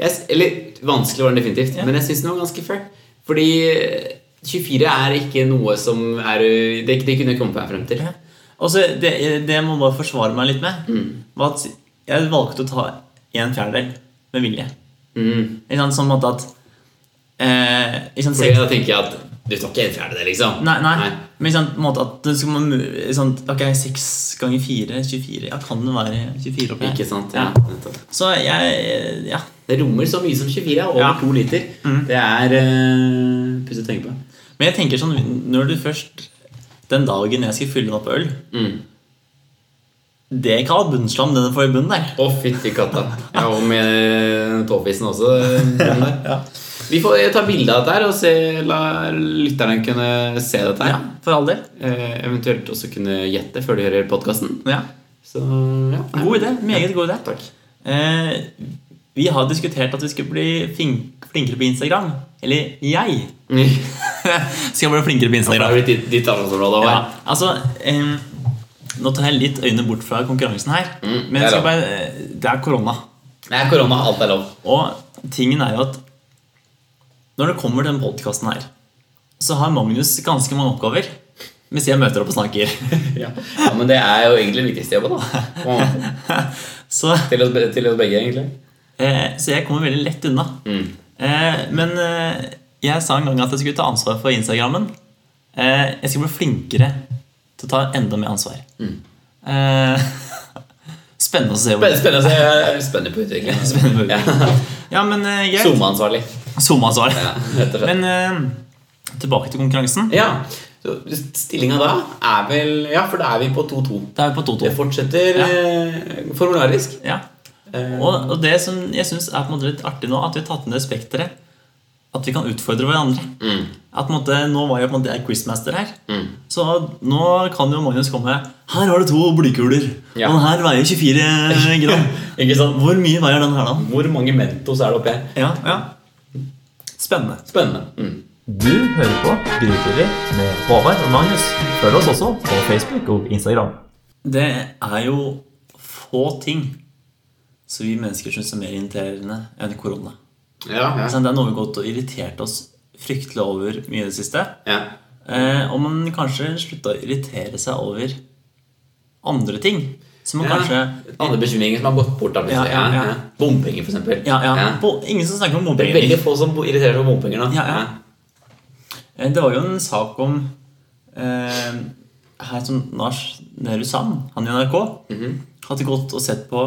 Jeg, s- eller vanskelig var den definitivt, Ja. men jeg syns den var ganske fair. Fordi eh, 24 er ikke noe som er eh, Det, det kunne jeg kommet meg frem til. Ja. Og så det, det jeg må bare forsvare meg litt med, Mm. var at jeg valgte å ta en fjerdedel med vilje. Mm. Ikke sant? Sånn måte at eh, ikke sant, Fordi seks- da tenker jeg at du tar ikke en fjerdedel, liksom. Nei, nei. men sånn, på en måte at det skal man, sånn, Ok, 6 ganger 4, 24 Ja, kan det være 24 oppi her? Ikke sant? Ja. nettopp. Så jeg Ja. Det rommer så mye som 24. er Over Ja. Mm. to liter. Det er uh, pussig å tenke på. Men jeg tenker sånn Når du først Den dagen jeg skal fylle meg på øl Mm. Det er ikke all bunnslam den får i bunnen der. Å, fytti katta. Ja, og med eh, tåfisen også. den <laughs> der. Ja. Vi får ta bilde av dette her og se, la lytterne kunne se dette her. ja, For all del. Eh, eventuelt også kunne gjette før du hører podkasten. Ja. Så ja. nei. God idé. Meget god idé. Takk. Eh, vi har diskutert at vi skulle bli flin- flinkere på Instagram. Eller jeg skal bli flinkere på <laughs> Det Instagram. har blitt ditt, ditt arbeidsområde Ja, òg. altså em, Nå tar jeg litt øynene bort fra konkurransen her. Mm, men det er jeg skal lov. bare, eh, det er korona. Det er korona, alt er lov. Og tingen er jo at når det kommer til denne podkasten her, så har Magnus ganske mange oppgaver. mens jeg møter opp og snakker. <laughs> <laughs> Ja. ja, Men det er jo egentlig den viktigste jobben, da. <laughs> På en måte. Så, Til oss, be- til oss begge, egentlig. eh, så jeg kommer veldig lett unna. Mm. Eh, men eh, jeg sa en gang at jeg skulle ta ansvar for Instagrammen. Eh, jeg skal bli flinkere til å ta enda mer ansvar. Mm. Eh, <laughs> spennende å se hvor Spen- Spennende å se. Jeg er Spennende på utviklingen. altså. Spennende <laughs> på Ja. Ja, men eh, greit. SoMe-ansvarlig. SoMe-ansvar. Ja, rett og slett. Men eh, tilbake til konkurransen. Ja, så Stillinga da er vel Ja, for da er vi på 2-2. Da er vi på Det 2-2. fortsetter Ja. eh, formularisk. Ja. Eh, Og, og det som jeg syns er på en måte litt artig nå, at vi har tatt ned spekteret. At vi kan utfordre hverandre. Mm. At på en måte, Nå var jeg på en måte jeg quizmaster her. Så nå kan jo Magnus komme med Her har du to blykuler. Ja. Og den her veier 24 gram. <laughs> Ikke sant? Hvor mye veier den her, da? Hvor mange Mentos er det oppi her? Ja, ja. Spennende. Spennende. Mm. Du hører på Grytidlig med Håvard og Magnus. Følg oss også på Facebook og Instagram. Det er jo få ting som vi mennesker syns er mer irriterende enn korona. Ja, ja. Sånn, Det er noe vi har gått og irritert oss fryktelig over mye i det siste. ja. Eh, og man kanskje slutta å irritere seg over andre ting. Som man kanskje Andre bekymringer som har gått bort. Da, plutselig. Ja, ja, ja. Bompenger, for eksempel. Ja, ja. Bo- Ingen som snakker om Det er bompenger. veldig få som bo- irriterer seg over bompenger. Da. Ja, ja. Eh, Det var jo en sak om eh, her som Lars Nehru Sand, han i NRK, hadde gått og sett på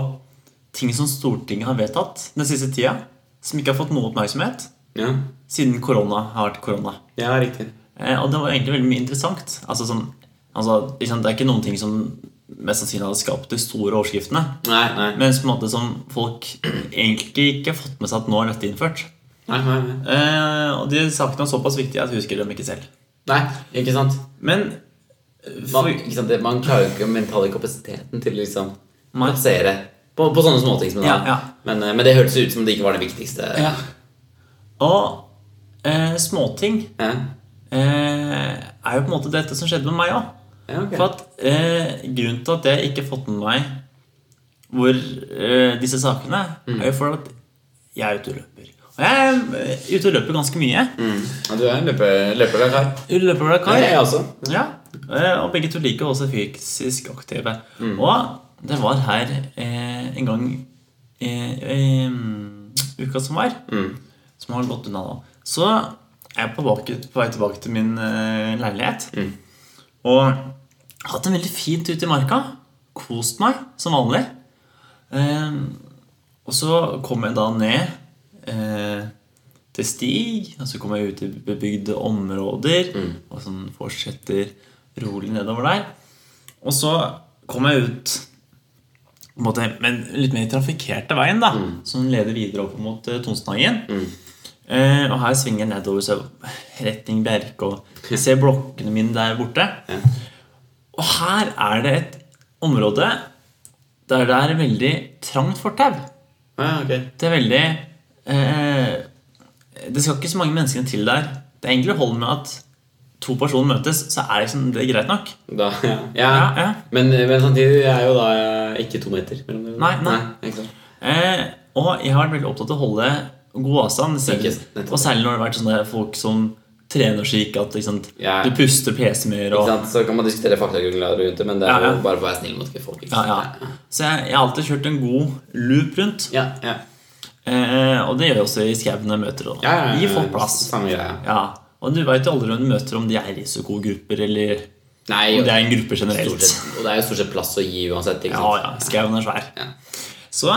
ting som Stortinget har vedtatt den siste tida, som ikke har fått noe oppmerksomhet Ja. siden korona har vært korona. Ja. ja, riktig. Eh, og det var egentlig veldig mye interessant. Altså, som, altså, ikke sant, Det er ikke noen ting som mest sannsynlig hadde skapt de store overskriftene, Nei, nei. men som, på en måte, som folk egentlig ikke har fått med seg at nå er dette innført. nei, nei, nei. Eh, og de sakene er såpass viktige at jeg husker dem ikke selv. nei ikke sant? Men Man, ikke sant? det- Man klarer jo ikke den mentale kapasiteten til liksom Nei. plassere på, på sånne småting som det Ja, er. ja. Men, eh, men det hørtes ut som det ikke var det viktigste. ja. Og eh, småting Ja. eh, er jo på en måte dette som skjedde med meg òg. Ja, ok. For at eh, grunnen til at jeg ikke har fått med meg hvor eh, disse sakene Mm. er jo for at jeg er ute og løper. Og jeg er eh, ute og løper ganske mye. Ja, du er en løper, løper der, Kai. Ute og løper hver Mm. Ja, kar. jeg også. Ja, eh, og begge to liker også fysisk aktive. Og det var her eh, en gang eh, eh, uka som var, som har gått unna nå. Så er jeg på, bak- på vei tilbake til min eh, leilighet. Og hatt en veldig fin tur i marka. Kost meg som vanlig. Eh, og så kom jeg da ned eh, til Stig, og så kom jeg ut i bebygde områder, og sånn fortsetter rolig nedover der. Og så kom jeg ut på en måte, men litt mer trafikkerte veien, da, som leder videre opp mot eh, Tonsenhagen. Eh, og her svinger jeg nedover så retning Bjerke og jeg ser blokkene mine der borte. Og her er det et område der det er veldig trangt fortau. Ja, ok. Det er veldig eh, Det skal ikke så mange menneskene til der. Det er egentlig holder med at to personer møtes, så er liksom det greit nok. Da, ja. Ja. Ja, ja. Men, men samtidig er jo da eh, ikke to meter mellom dere. Nei, nei. ikke sant? Eh, og jeg har vært veldig opptatt av å holde god avstand. Selv, Ikke sant, nettopp. og særlig når det har vært sånne folk som trener slik at ikke sant, Ja. du puster PC mer. Ikke Og, sant? Så kan man diskutere faktagrunnlaget rundt det, men det er Ja, ja. jo bare for å være snill mot folk. Ikke ja, ja. sant? Så jeg, jeg har alltid kjørt en god loop rundt. Ja, ja. Eh, og det gjør jeg også i skauen når jeg møter og, Ja, ja, ja, Gi folk ja, plass. Samme greia. Ja. Og du veit jo aldri om du møter om de er risikogrupper eller Nei, om det er en gruppe stort generelt. sett, og det er jo stort sett plass å gi uansett. Ikke Ja, sant? ja. Skauen er svær. Ja. Så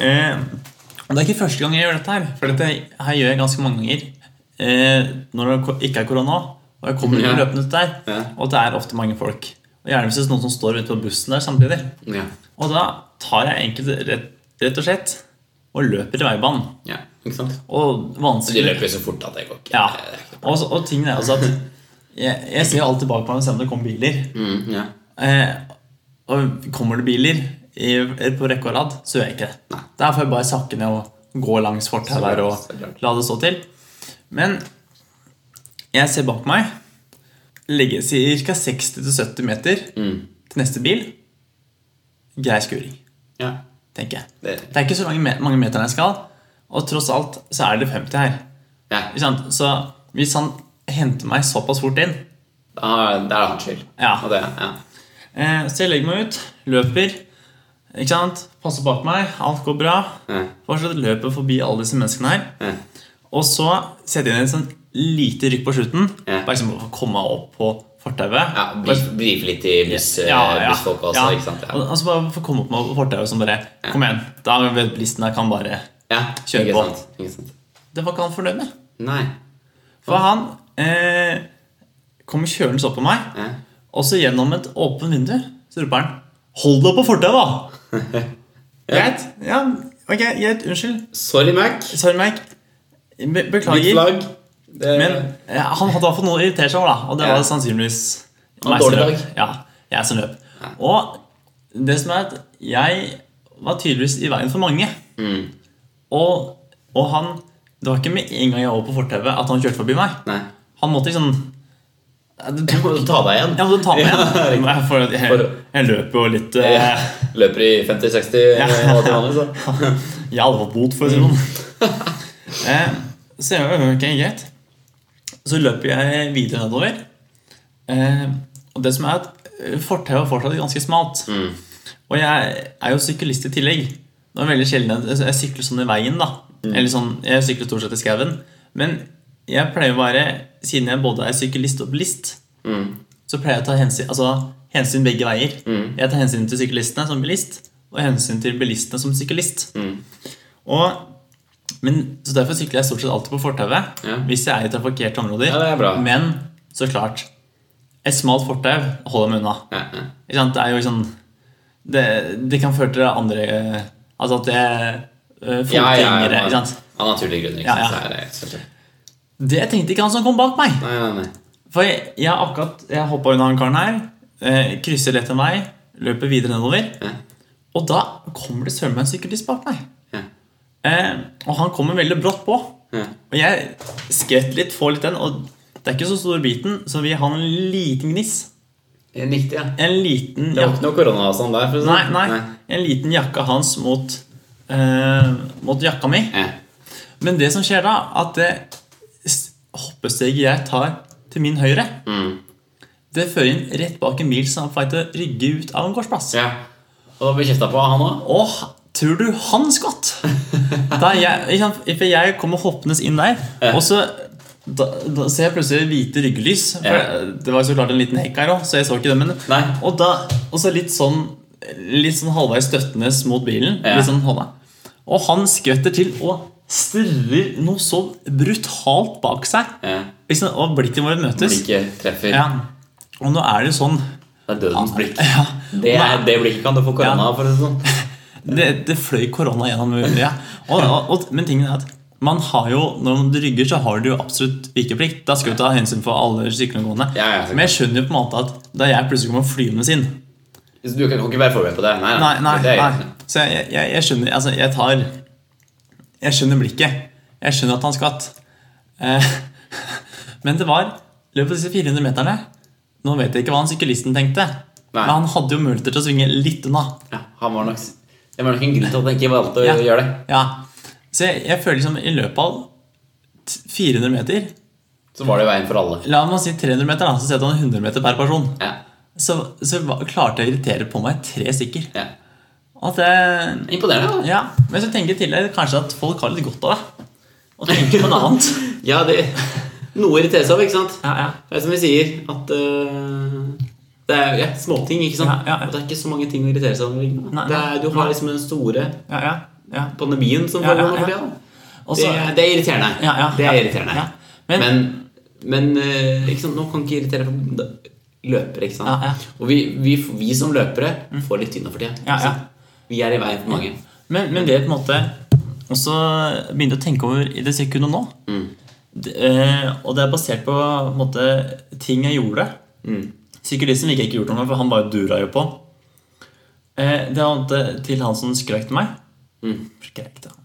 eh, og Det er ikke første gang jeg gjør dette her. For dette her gjør jeg ganske mange ganger eh, når det ko- ikke er korona. Og jeg kommer Ja. løpende ut der, Ja. og det er ofte mange folk. Og gjerne hvis det er noen som står ute på bussen der samtidig. Ja. Og da tar jeg enkelte rett, rett og slett og løper i veibanen. ja, ikke sant? Så Og de vanskelig løper jo så fort at det går ikke. Ja. Det er ikke- Og, så- og tingen er også at jeg, jeg ser jo alltid bak meg og ser om det kommer biler. Mm, ja. Eh, og kommer det biler i, eh, på rekke og rad, så gjør jeg ikke det. Da får jeg bare sakke ned og gå langs fortauet Så her klart. og la det stå til. Men jeg ser bak meg ligge ca. 60-70 meter Mm. til neste bil. Grei skuring, ja. tenker jeg. Det, Det er ikke så mange, me- mange meterne jeg skal, og tross alt så er det 50 her. ja. Ikke sant? Så hvis han henter meg såpass fort inn, Da er Ah, det hans skyld. Ja. Og det, ja. Eh, så jeg legger meg ut, løper, ikke sant? passer bak meg, alt går bra. Mm. Fortsatt løper forbi alle disse menneskene her. Mm. Og så setter jeg inn en sånn lite rykk på slutten, Ja. bare liksom for å komme meg opp på fortauet. ja brif, brif litt i buss, eh, bussfolk også, ja. ikke sant? Og- Ja. Altså bare for å komme opp meg opp på fortauet som bare Kom igjen, da vet bilisten her kan bare ja Kjør ikke på. Sant? Ikke sant? Det var ikke han fornøyd med. Nei. For han eh, kommer kjørende opp på meg, Ja. og så gjennom et åpent vindu så roper han 'Hold deg på fortauet, <laughs> da!' Greit? Ja, ok, greit. Unnskyld. Sorry, Mac. Sorry, Mike. Be Hvitt beklager. flagg. Det- Men eh, han hadde i hvert fall noe å irritere seg over, da. Og det Ja. var sannsynligvis Han hadde meg som dårlig løp. Ja, jeg som løp. Og det som er at jeg var tydeligvis i veien for mange. Mm. Og, og han Det var ikke med en gang jeg var på fortauet at han kjørte forbi meg. Nei. Han måtte liksom Ja, det Jeg må ta deg igjen. Jeg måtte ta meg Ja, igjen. Jeg, for, jeg, For- jeg løper jo litt eh, <laughs> Ja. Løper i 50-60 Ja. og til vanlig, <laughs> så. Jeg hadde fått bot, for å si det sånn. <laughs> Eh, Så jeg var ok, greit. Så løper jeg videre nedover. Eh, Og det som er at eh, fortauet er fortsatt ganske smalt. Og jeg er jo syklist i tillegg. Det var veldig sjelden jeg, jeg sykler sånn i veien, da. Mm. Eller sånn, jeg sykler stort sett i skauen. Men jeg pleier å være, siden jeg både er syklist og bilist, Mm. så pleier jeg å ta hensyn, altså, hensyn begge veier. Jeg tar hensyn til syklistene som bilist, og hensyn til bilistene som syklist. Mm. Og, men, så derfor sykler jeg stort sett alltid på fortauet Ja. hvis jeg er i trafikkerte områder. Ja, det er bra. Men så klart Et smalt fortau holder meg unna. Ja, ja. Ikke sant? Det er jo sånn Det, det kan føre til andre eh, Altså at det eh, Ja, ja, Fotgjengere. ja, ikke sant? Av naturlige grunner. Ikke Ja, ja. sant? Så er det, så er det. Det tenkte ikke han som kom bak meg. Nei, nei, nei. For jeg, jeg har akkurat Jeg hoppa unna han karen her, eh, krysser lett en vei, løper videre nedover. Ja. Og da kommer det søren meg en syklist bak meg. Ja. Eh, og han kommer veldig brått på. Ja. Og jeg skvetter litt, får litt den, og det er ikke så stor biten, så vi har en liten gniss. En Riktig, ja. En liten Det var ikke noe koronaavstand der. For å si det Nei, sånn. nei. En liten jakka hans mot, eh, mot jakka mi. Ja. Men det som skjer da, at det s- hoppesteget jeg tar til min høyre, det fører inn rett bak en bil som er på vei til å rygge ut av en gårdsplass. ja. Og da ble kjefta på han òg. Åh, tror du han <laughs> skvatt? da jeg, ikke sant, for jeg kommer hoppende inn der, og så da, da ser jeg plutselig hvite ryggelys. For Ja. Det var jo så klart en liten hekk her òg, så jeg så ikke det. Men, Nei. og, da, og så litt sånn Litt sånn halvveis støttende mot bilen. Ja. Litt sånn halvveis. Og han skvetter til og stirrer noe så brutalt bak seg. Ja. Liksom, og blikket våre møtes. Blikket treffer. Ja. Og nå er det jo sånn Det er dødens <laughs> blikk. ja, Det, er, det blikket kan du få korona av, for å si det sånn. Det, det fløy korona gjennom øya. Og, og, og, men tingen er at man har jo, når du rygger, så har du jo absolutt vikeplikt. Da skal du ta hensyn for alle syklengående. Ja, ja, så klart. men jeg skjønner jo på en måte at da jeg plutselig kommer flyvende inn Så Du kan kan ikke være forberedt på det. Nei, Nei, nei, Det er- nei. Så jeg, jeg, jeg skjønner Altså, jeg tar Jeg skjønner blikket. Jeg skjønner at han skvatt. Eh, <laughs> men det var i løpet av disse 400 meterne Nå vet jeg ikke hva han syklisten tenkte, Nei. men han hadde jo muligheter til å svinge litt unna. Ja, han var nok, det var nok en grunn til at han ikke valgte å Ja. gjøre det. Ja. Så jeg, jeg føler liksom i løpet av t- 400 meter Så var det veien for alle. La meg si 300 meter, da, så setter han 100 meter per person. Ja, Så, så va- klarte jeg å irritere på meg tre stykker. ja. At det, Imponerende. da. ja, Men så tenker jeg tidligere kanskje at folk har litt godt av det. Og tenker på noe <laughs> annet. Ja, det Noe irriteres over, ikke sant? Ja, ja. Det er som vi sier, at øh, det er ja, småting, ikke sant? Ja, ja, ja. Og Det er ikke så mange ting å irritere seg over. ikke Nei, sant? Det er, du har nei. liksom den store ja, ja, ja. pandemien som Ja, ja, foregår nå for ja. tida. da. Og Det, så- er- det er irriterende. Ja, ja, det er ja. irriterende. Ja. Men- men, men, øh, ikke sant? nå kan ikke irritere for da- løpere, ikke sant? Ja, ja. Og vi, vi, vi som løpere får litt tynn for tida. Ja, ikke ja. sant? Vi er i veien for mange. Men, men det på en måte også begynte jeg å tenke over i det sekundet nå. Det, eh, og det er basert på, på en måte, ting jeg gjorde. Syklisten fikk jeg ikke gjort noe med, for han bare dura jo på. Eh, det var til- til han som skrek til meg. Skrek til han.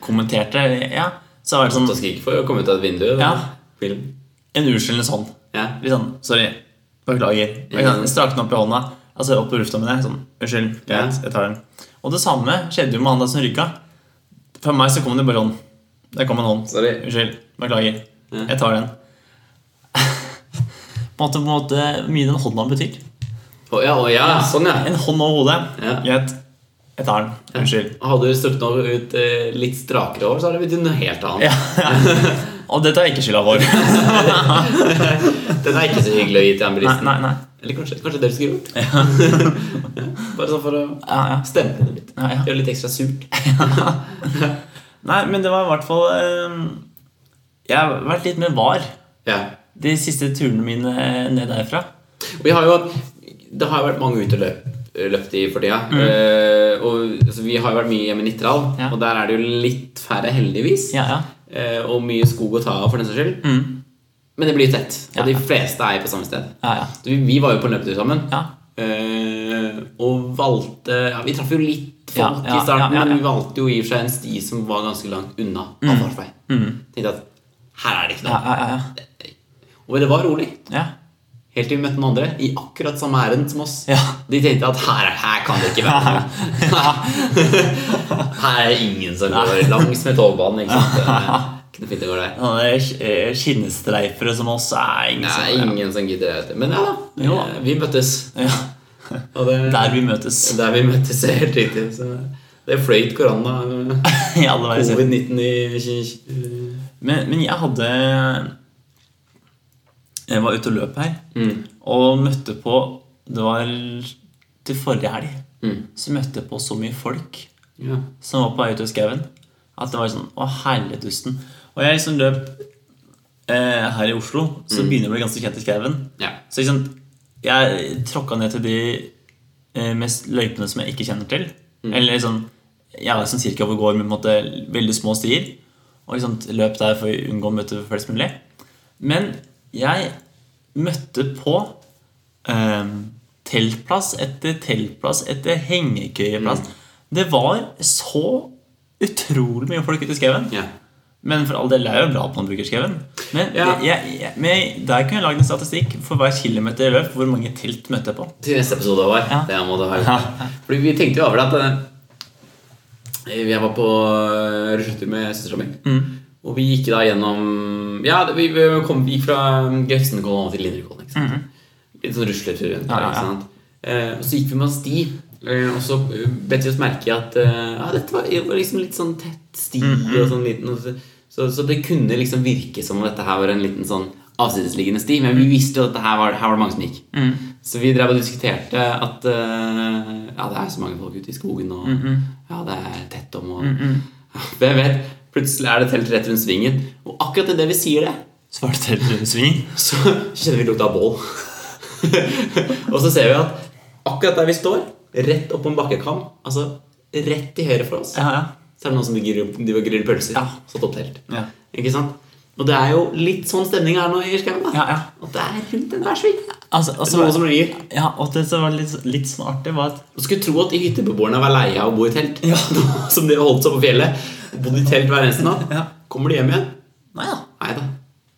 Kommenterte, ja. Så var det Så sånn skal ikke få komme ut av et vindu. da. Ja. Film. en unnskyldende sånn. Ja. Litt sånn sorry, beklager. Og ikke sant, Strakte den opp i hånda, altså opp på lufta med det. Sånn, unnskyld, greit, jeg tar den. Og det samme skjedde jo med han der som rygga. Fra meg så kom det bare hånd. Der kom en hånd. Sorry. Unnskyld, beklager. Jeg tar den. <laughs> på en måte, på en måte mye den hånda betyr. Å, ja, å, ja, sånn, ja. En hånd over hodet. Ja. Greit. Jeg tar den. Unnskyld. Hadde du strukket over ut eh, litt strakere hår, så hadde det blitt noe helt annet. Ja. Og det tar jeg ikke skylda for. Den er ikke så hyggelig å gi til en <laughs> Nei, bilist. nei, nei. Eller kanskje, kanskje dere skulle gjort <laughs> Bare sånn for å Ja, ja. stemple det litt. Ja, ja. Gjøre det litt ekstra surt. Nei, men det var i hvert fall eh, Jeg har vært litt mer var Ja. de siste turene mine ned derfra. Vi har jo Det har jo vært mange ute og løp, løpt i for tida. Eh, og altså, vi har jo vært mye hjemme i Nittedal, Mm. Ja. og der er det jo litt færre, heldigvis. Ja, ja. Eh, og mye skog å ta av, for den saks skyld. Mm. Men det blir jo tett. Og Ja. de fleste er jo på samme sted. Ja, ja. Så vi, vi var jo på en løpetur sammen. ja. Eh, og valgte ja, Vi traff jo litt folk Ja, ja, i starten, ja, ja, ja. men vi valgte jo i og for seg en sti som var ganske langt unna allfarvei. Tenkte at her er det ikke Mm. Ja, noe. ja, ja, Og det var rolig. ja. Helt til vi møtte noen andre i akkurat samme ærend som oss. Ja. De tenkte at her, her kan det ikke være noe. <laughs> her er det ingen som går langs med togbanen. Ikke <laughs> sant? Det er Ikke noe fint å gå der. ja. Sånne eh, skinnstreifere som oss er ingen Det som er ingen som gidder det. Men ja da, Jo da. eh, vi møttes. ja. Og det- Der vi møtes. Der vi møttes er helt riktig. Så det fløyt korona. eh, I alle veier selv. Covid-19 i i- Men, men jeg hadde Jeg var ute og løp her, og møtte på Det var til forrige helg. Så møtte jeg på så mye folk ja. som var på vei ut av skauen, at det var sånn Å, helletusten. Og jeg liksom løp eh, her i Oslo, så begynner jeg å bli ganske kjent i skauen. ja. Så liksom, jeg tråkka ned til de eh, mest løypene som jeg ikke kjenner til. Eller liksom, Jeg var sånn cirka på gård med på en måte, veldig små stier. Og liksom løp der for å unngå å møte flest mulig. Men jeg møtte på eh, teltplass etter teltplass etter hengekøyeplass. Det var så utrolig mye folk ute i skauen. ja. Men for all del det er jo bra at man bruker skauen. Men, Ja. jeg, jeg, men der kunne jeg lagd en statistikk for hver kilometer jeg løp, hvor mange telt møtte jeg på. Til neste episode, Håvard. Ja. Det må du ha Ja. gjort. Fordi vi tenkte jo over det at eh, Jeg var på eh, rusletur med søstera mi. Og vi gikk da gjennom Ja, det- vi, vi kom, vi gikk fra Grefsenkollen til Linderkollen. Ikke sant? Litt sånn rusletur rundt Ja, der. ja, Ikke ja. sant? Eh, og så gikk vi med en sti, eh, og så eh, bet vi oss merke i at eh, ja, dette var, det var liksom litt sånn tett sti. Og Mhm. sånn liten, og så, så, så det kunne liksom virke som om dette her var en liten sånn avsidesliggende sti, men vi visste jo at dette her var, her var det mange som gikk. Mhm. Så vi drev og diskuterte at eh, ja, det er så mange folk ute i skogen, og Mhm. ja, det er tett om, og <laughs> hvem vet? Plutselig er det telt rett rundt svingen, og akkurat idet vi sier det, Så var det telt rundt svingen. så kjenner vi lukta av bål. <laughs> og så ser vi at akkurat der vi står, rett opp på en bakkekam, altså rett til høyre for oss, Ja, ja. så er det noen som griller, de griller pølser. Ja. Satt opp telt. Ja. Ikke sant? Og det er jo litt sånn stemning her nå i skauen. da. Ja, ja. At det er rundt enhver sving. Altså, Det altså, er noen som rir. ja, og det som var litt, litt sånn artig, var at Du skulle tro at de hyttebeboerne var leie av å bo i telt. <laughs> Nå som de holdt seg på fjellet. Bodd i telt hver eneste natt. Ja. Kommer de hjem igjen? Nei da. Nei da.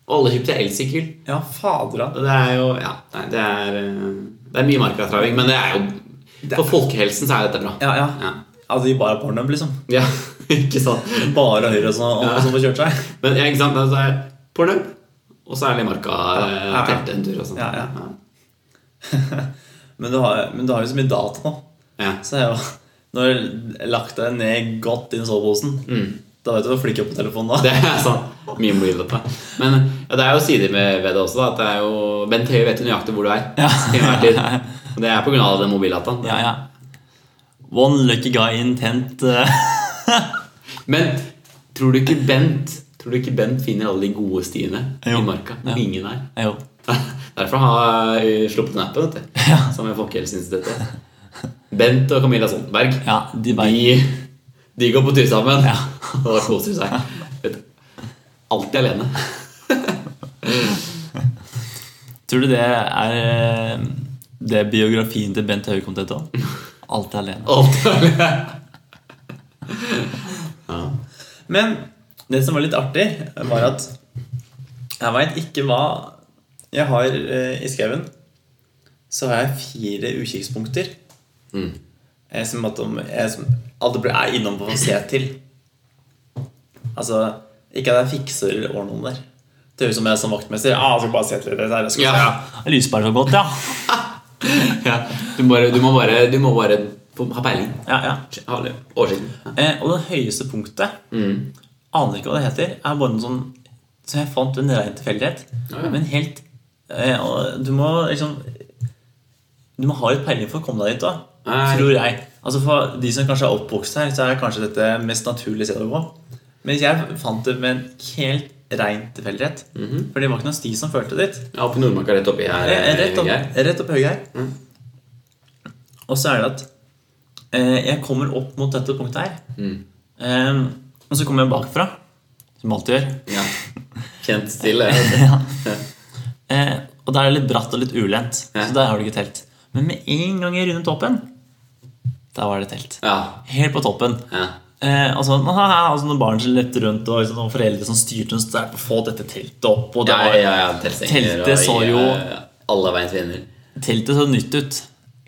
Og alle kjøpte elsykkel. Ja, fader Og Det er jo Ja, nei, det er eh, Det er mye markatraving, men det er jo For folkehelsen så er dette bra. Ja, ja. Ja. Altså, de bare porno, liksom. Ja, <laughs> ikke sant? Bare høyre og sånn, og Ja. sånn får kjørt seg. Men ja, ikke sant, altså er pornhub, og så er det marka eh, Ja, ja. teltet en tur og sånt. Ja, ja. <laughs> Men du har, men du har jo så mye data nå. Ja. Så jeg var- Når jeg har lagt deg ned godt inn i soveposen, da vet du hva flikk opp på telefonen da. Mm. Det er sant. Mye moro dette. Men ja, det er jo sider med, ved det også. Da, at det er jo, Bent Høie vet jo nøyaktig hvor du er. Til enhver tid. <laughs> Og det er på grunn av den mobildataen. Ja, ja. One lucky guy intent. eh. Men tror du ikke Bent Tror du ikke Bent finner alle de gode stiene Jo. i marka? Ja. Ingen er. Jo. Derfor har jeg sluppet den appen, vet du. Ja. Sammen med Folkehelseinstituttet. Bent og Camilla Stoltenberg, Ja, de bare de, de går på tur sammen. Ja. <laughs> Og da koser de seg. Vet du, Alltid alene. Tror du det er eh, det er biografien til Bent Høie kom til å ta? Alltid alene. Alltid alene. Ja. Men det som var litt artig, var at jeg veit ikke hva jeg har eh, i skauen. Så har jeg fire utkikkspunkter. Mm. Jeg som at om jeg som alltid blir- er innom for å se til. Altså Ikke at jeg fikser eller ordner noen der, til hun som er som vaktmester. Ah, jeg skal bare sette litt der, jeg skal ja. se. Lyspæren så godt, ja. ja. Du, bare, du, må bare, du må bare ha peiling. ja, ja. Ha litt oversikt. Ja. Eh, og det høyeste punktet Mm. Aner ikke hva det heter. Er bare noe sånn som jeg fant ved en ren tilfeldighet. Ja, ja. Men helt eh, og Du må liksom Du må ha litt peiling for å komme deg dit, da. Nei. Tror jeg. Altså For de som kanskje er oppvokst her, så er kanskje dette mest naturlige stedet å gå. Men jeg fant det med en helt rein tilfeldighet. Mhm. For det var ikke noen sti som førte dit. Ja, Oppe i Nordmarka, rett oppi her. Eh, Rett opp, her. rett opp høyre her. Mm. Og så er det at eh, jeg kommer opp mot dette punktet her. Mm. Eh, og så kommer jeg bakfra, som jeg alltid gjør. Ja. Kjent stille. <laughs> Eh, og der er det litt bratt og litt ulendt. Ja. Så der har du ikke telt. Men med en gang jeg runder toppen, der var det telt. Ja. Helt på toppen. ja. Eh, altså, <laughs> altså Når barn som lepte rundt, og liksom, noen foreldre som styrte så er det på å få dette teltet opp og det Ja, var, ja, ja, teltstenger Teltet så i, jo- eh, Alle veiens vinder. Teltet så nytt ut.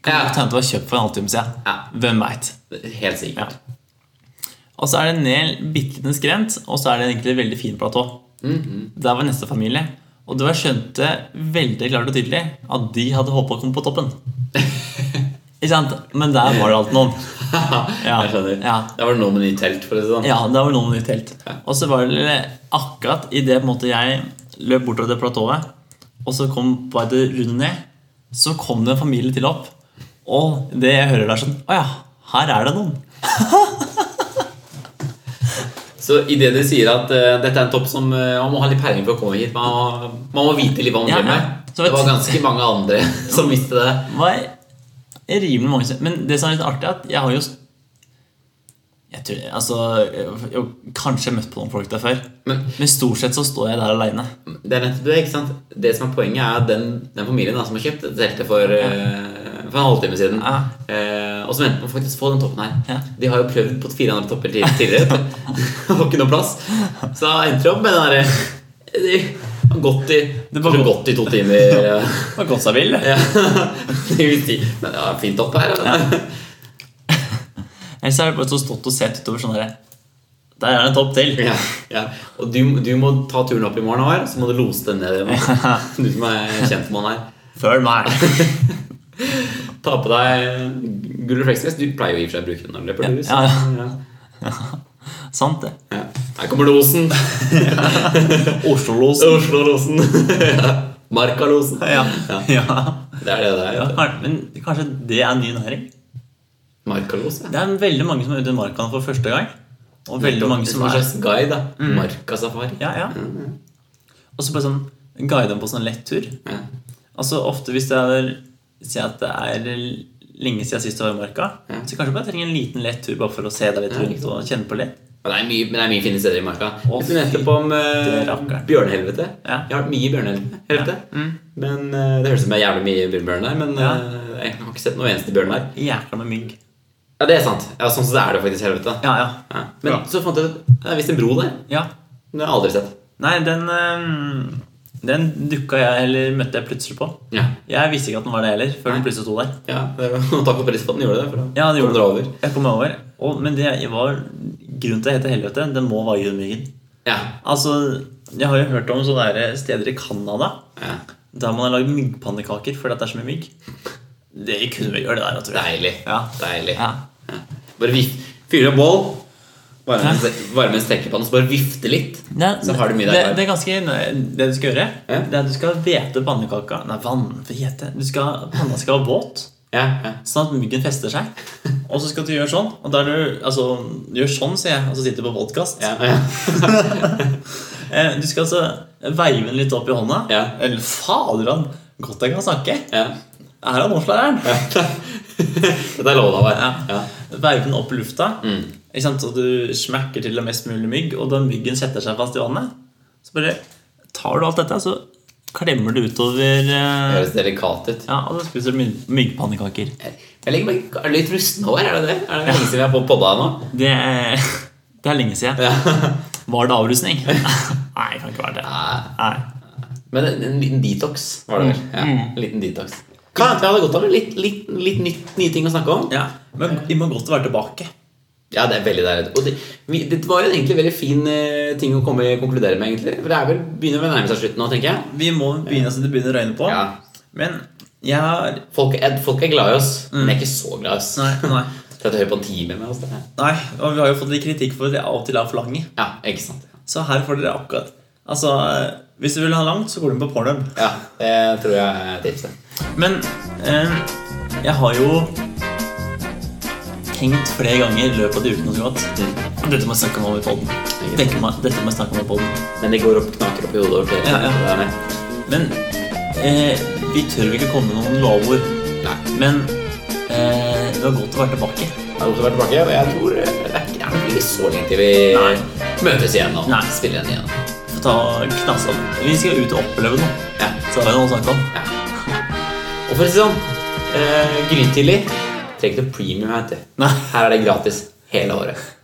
Kan Ja. godt hende det var kjøpt for en halvtime siden. Ja. Hvem veit. Helt sikkert. Og så er det ned en bitte liten skrent, og så er det egentlig en veldig fin platå. Mhm. Der var neste familie. Og det var skjønte veldig klart og tydelig at de hadde håpa å komme på <laughs> toppen. Ikke sant? Men der var det alltid <laughs> noen. Ja, Jeg skjønner. ja. Det var noe med nytt telt, for å si det sånn. Ja, der var noen nytt telt. Og så var det akkurat idet jeg løp bortover det platået, og så kom på et runde ned, så kom det en familie til opp. Og det jeg hører der, sånn Å ja, her er det noen. Så idet du sier at eh, dette er en topp som eh, man må ha litt peiling for å komme hit Man må, man må vite litt hva man Ja, driver ja. med. Så Det var vet- ganske mange andre <laughs> som visste det. var rimelig mange som- Men det som er litt artig, er at jeg har jo jeg tror, altså, jeg har kanskje møtt på noen folk der før. Men Men stort sett så står jeg der aleine. det er nettopp det, ikke sant? Det som er poenget, er at den, den familien da, som har kjøpt dette teltet for, eh, for en halvtime siden, Ja. eh, og som endte med å faktisk få den toppen her Ja. De har jo prøvd på fire andre topper til- <laughs> tidligere. <laughs> Det var ikke noe plass. Så da endte de opp med den derre de, har gått i, Det var kanskje godt. gått i to timer. eh, Har gått seg vill. <laughs> det. Ja. Det vil si, Men det var fint opp her. da. Ellers har jeg bare så stått og sett utover sånn derre Der er det en topp til. Ja, ja. Og du, du må ta turen opp i morgen, Håvard, så må du lose den <laughs> ned. Du som er kjentmann her. Følg meg. Ta på deg gull refleksvest. Du pleier jo i og for seg å bruke den når du løper tur. så- Ja, ja. Sant, det. Ja. Her kommer <laughs> losen. Oslo-los. Oslo-losen. Ja. Marka-losen. Ja. Ja, Ja. Det er det det er. Ja, vet du. kan- Men kanskje det er en ny næring? Marka-los. ja. Det er veldig mange som er ute i marka for første gang. Og veldig mange som en er Mm. slags guide. da Marka-safari. Ja, ja. Og så bare sånn guide dem på sånn lett tur. Ja. Altså ofte hvis det er Si at det er lenge siden sist du var i marka, Ja. så kanskje bare trenger en liten lett tur bare for å se deg litt Ja, rundt ikke og kjenne på litt. Ja, Det er mye, men det er mye fine steder i marka. Å, Vi kunne nettopp om fytti uh, rakkeren. bjørnehelvete. Ja. Jeg har vært mye i bjørnehelvete. Ja. Mm. Men eh, Det høres ut som det er jævlig mye bjørn der, men Ja. eh, jeg har ikke sett noen eneste bjørn der. Jækla med mygg. Ja, det er sant. Ja, Sånn som det er det faktisk i helvete. Ja, ja. Ja. Men Ja. så fant jeg ut at det er visst en bro der. ja. Den har jeg aldri sett. Nei, den ehm, Den dukka jeg, eller møtte jeg plutselig på. Ja, Jeg visste ikke at den var det heller, før den plutselig sto der. ja det var, <laughs> Takk og pris for at den gjorde det. For da Ja, den gjorde kom dere over. Jeg kom meg over. Og, men det var grunnen til at det heter helvete. Den må være jødemyggen. Ja. Altså, jeg har jo hørt om sånne der steder i Canada ja. der man har lagd myggpannekaker fordi at det er så mye mygg. Det kunne vi gjøre, det der. Tror jeg. Deilig. Ja. Deilig. Ja. Bare vif fyre opp bål, varme en stek- varme en stekepanne, så bare vifte litt. Det, Så har du mye det, der. det er ganske nø- Det du skal gjøre, Ja. det er at du skal hvete pannekaka Nei, vann, hva heter det? Du skal, panna skal være våt, Ja, ja. sånn at myggen fester seg. Og så skal du gjøre sånn. Og da er du, altså, du gjør sånn, sier jeg, og så sitter du på podkast. Ja, ja. Eh, Du skal altså veive den litt opp i hånda. Ja. Eller fader, han godt jeg kan snakke. ja. Er han norsklærer? Dette er lov, da. bare. Ja. Veive den opp i lufta. Mm. Ikke sant? Så du smekker til det mest mulig mygg, og da myggen setter seg fast i vannet, så bare tar du alt dette, så klemmer du utover eh, Høres delikat ut. Ja, og så spiser du myg- myggpannekaker. Jeg legger meg er det litt rusten over, er det det? Er det lenge siden vi har fått podda nå? Det er, <laughs> det er lenge siden. Ja. <laughs> Var det <laughs> avrusning? Nei, det kan ikke være det. Nei. Men en, en liten detox var det vel. Ja, en liten detox. Kan hende vi hadde godt av det. Litt, litt, litt nytt, nye ting å snakke om. Ja. Men vi må godt være tilbake. Ja, det er veldig deilig. Og det, vi- det var jo egentlig en veldig fin eh, ting å komme konkludere med, egentlig. For det er vel, begynner vel å nærme seg slutten nå, tenker jeg. Vi må begynne så det begynner å røyne på. Ja. Men jeg har Folk er, folk er glad i oss, men de er ikke så glad i oss. Nei, nei. Til at de hører på en time med oss. Det. er- nei. Og vi har jo fått litt kritikk for at jeg av og til er for lange. Ja, ikke sant. Så her får dere akkurat Altså, hvis du vil ha langt, så går du inn på pornhub. Ja, det tror jeg er tipset. Men eh, jeg har jo tenkt flere ganger i løpet av de ukene som har gått Dette må jeg snakke om i poden. Dette må dette må jeg snakke om i podden. Men det går opp, knaker opp i hodet. over Ja, ja. Det er med. Men eh, vi tør vel ikke komme med noen lovord. Nei. Men eh, det var godt å være tilbake. Det er godt å være tilbake, og jeg tror eh, det er ikke- det er ikke så lenge til vi Nei. møtes igjen og Nei. spiller den igjen. Få ta knasse opp. Vi skal ut og oppleve noe. Ja. Så har vi noe å snakke om. Og for å si sånn, eh, grytidlig trenger ikke noe premium. Her, til. Nei. her er det gratis hele året.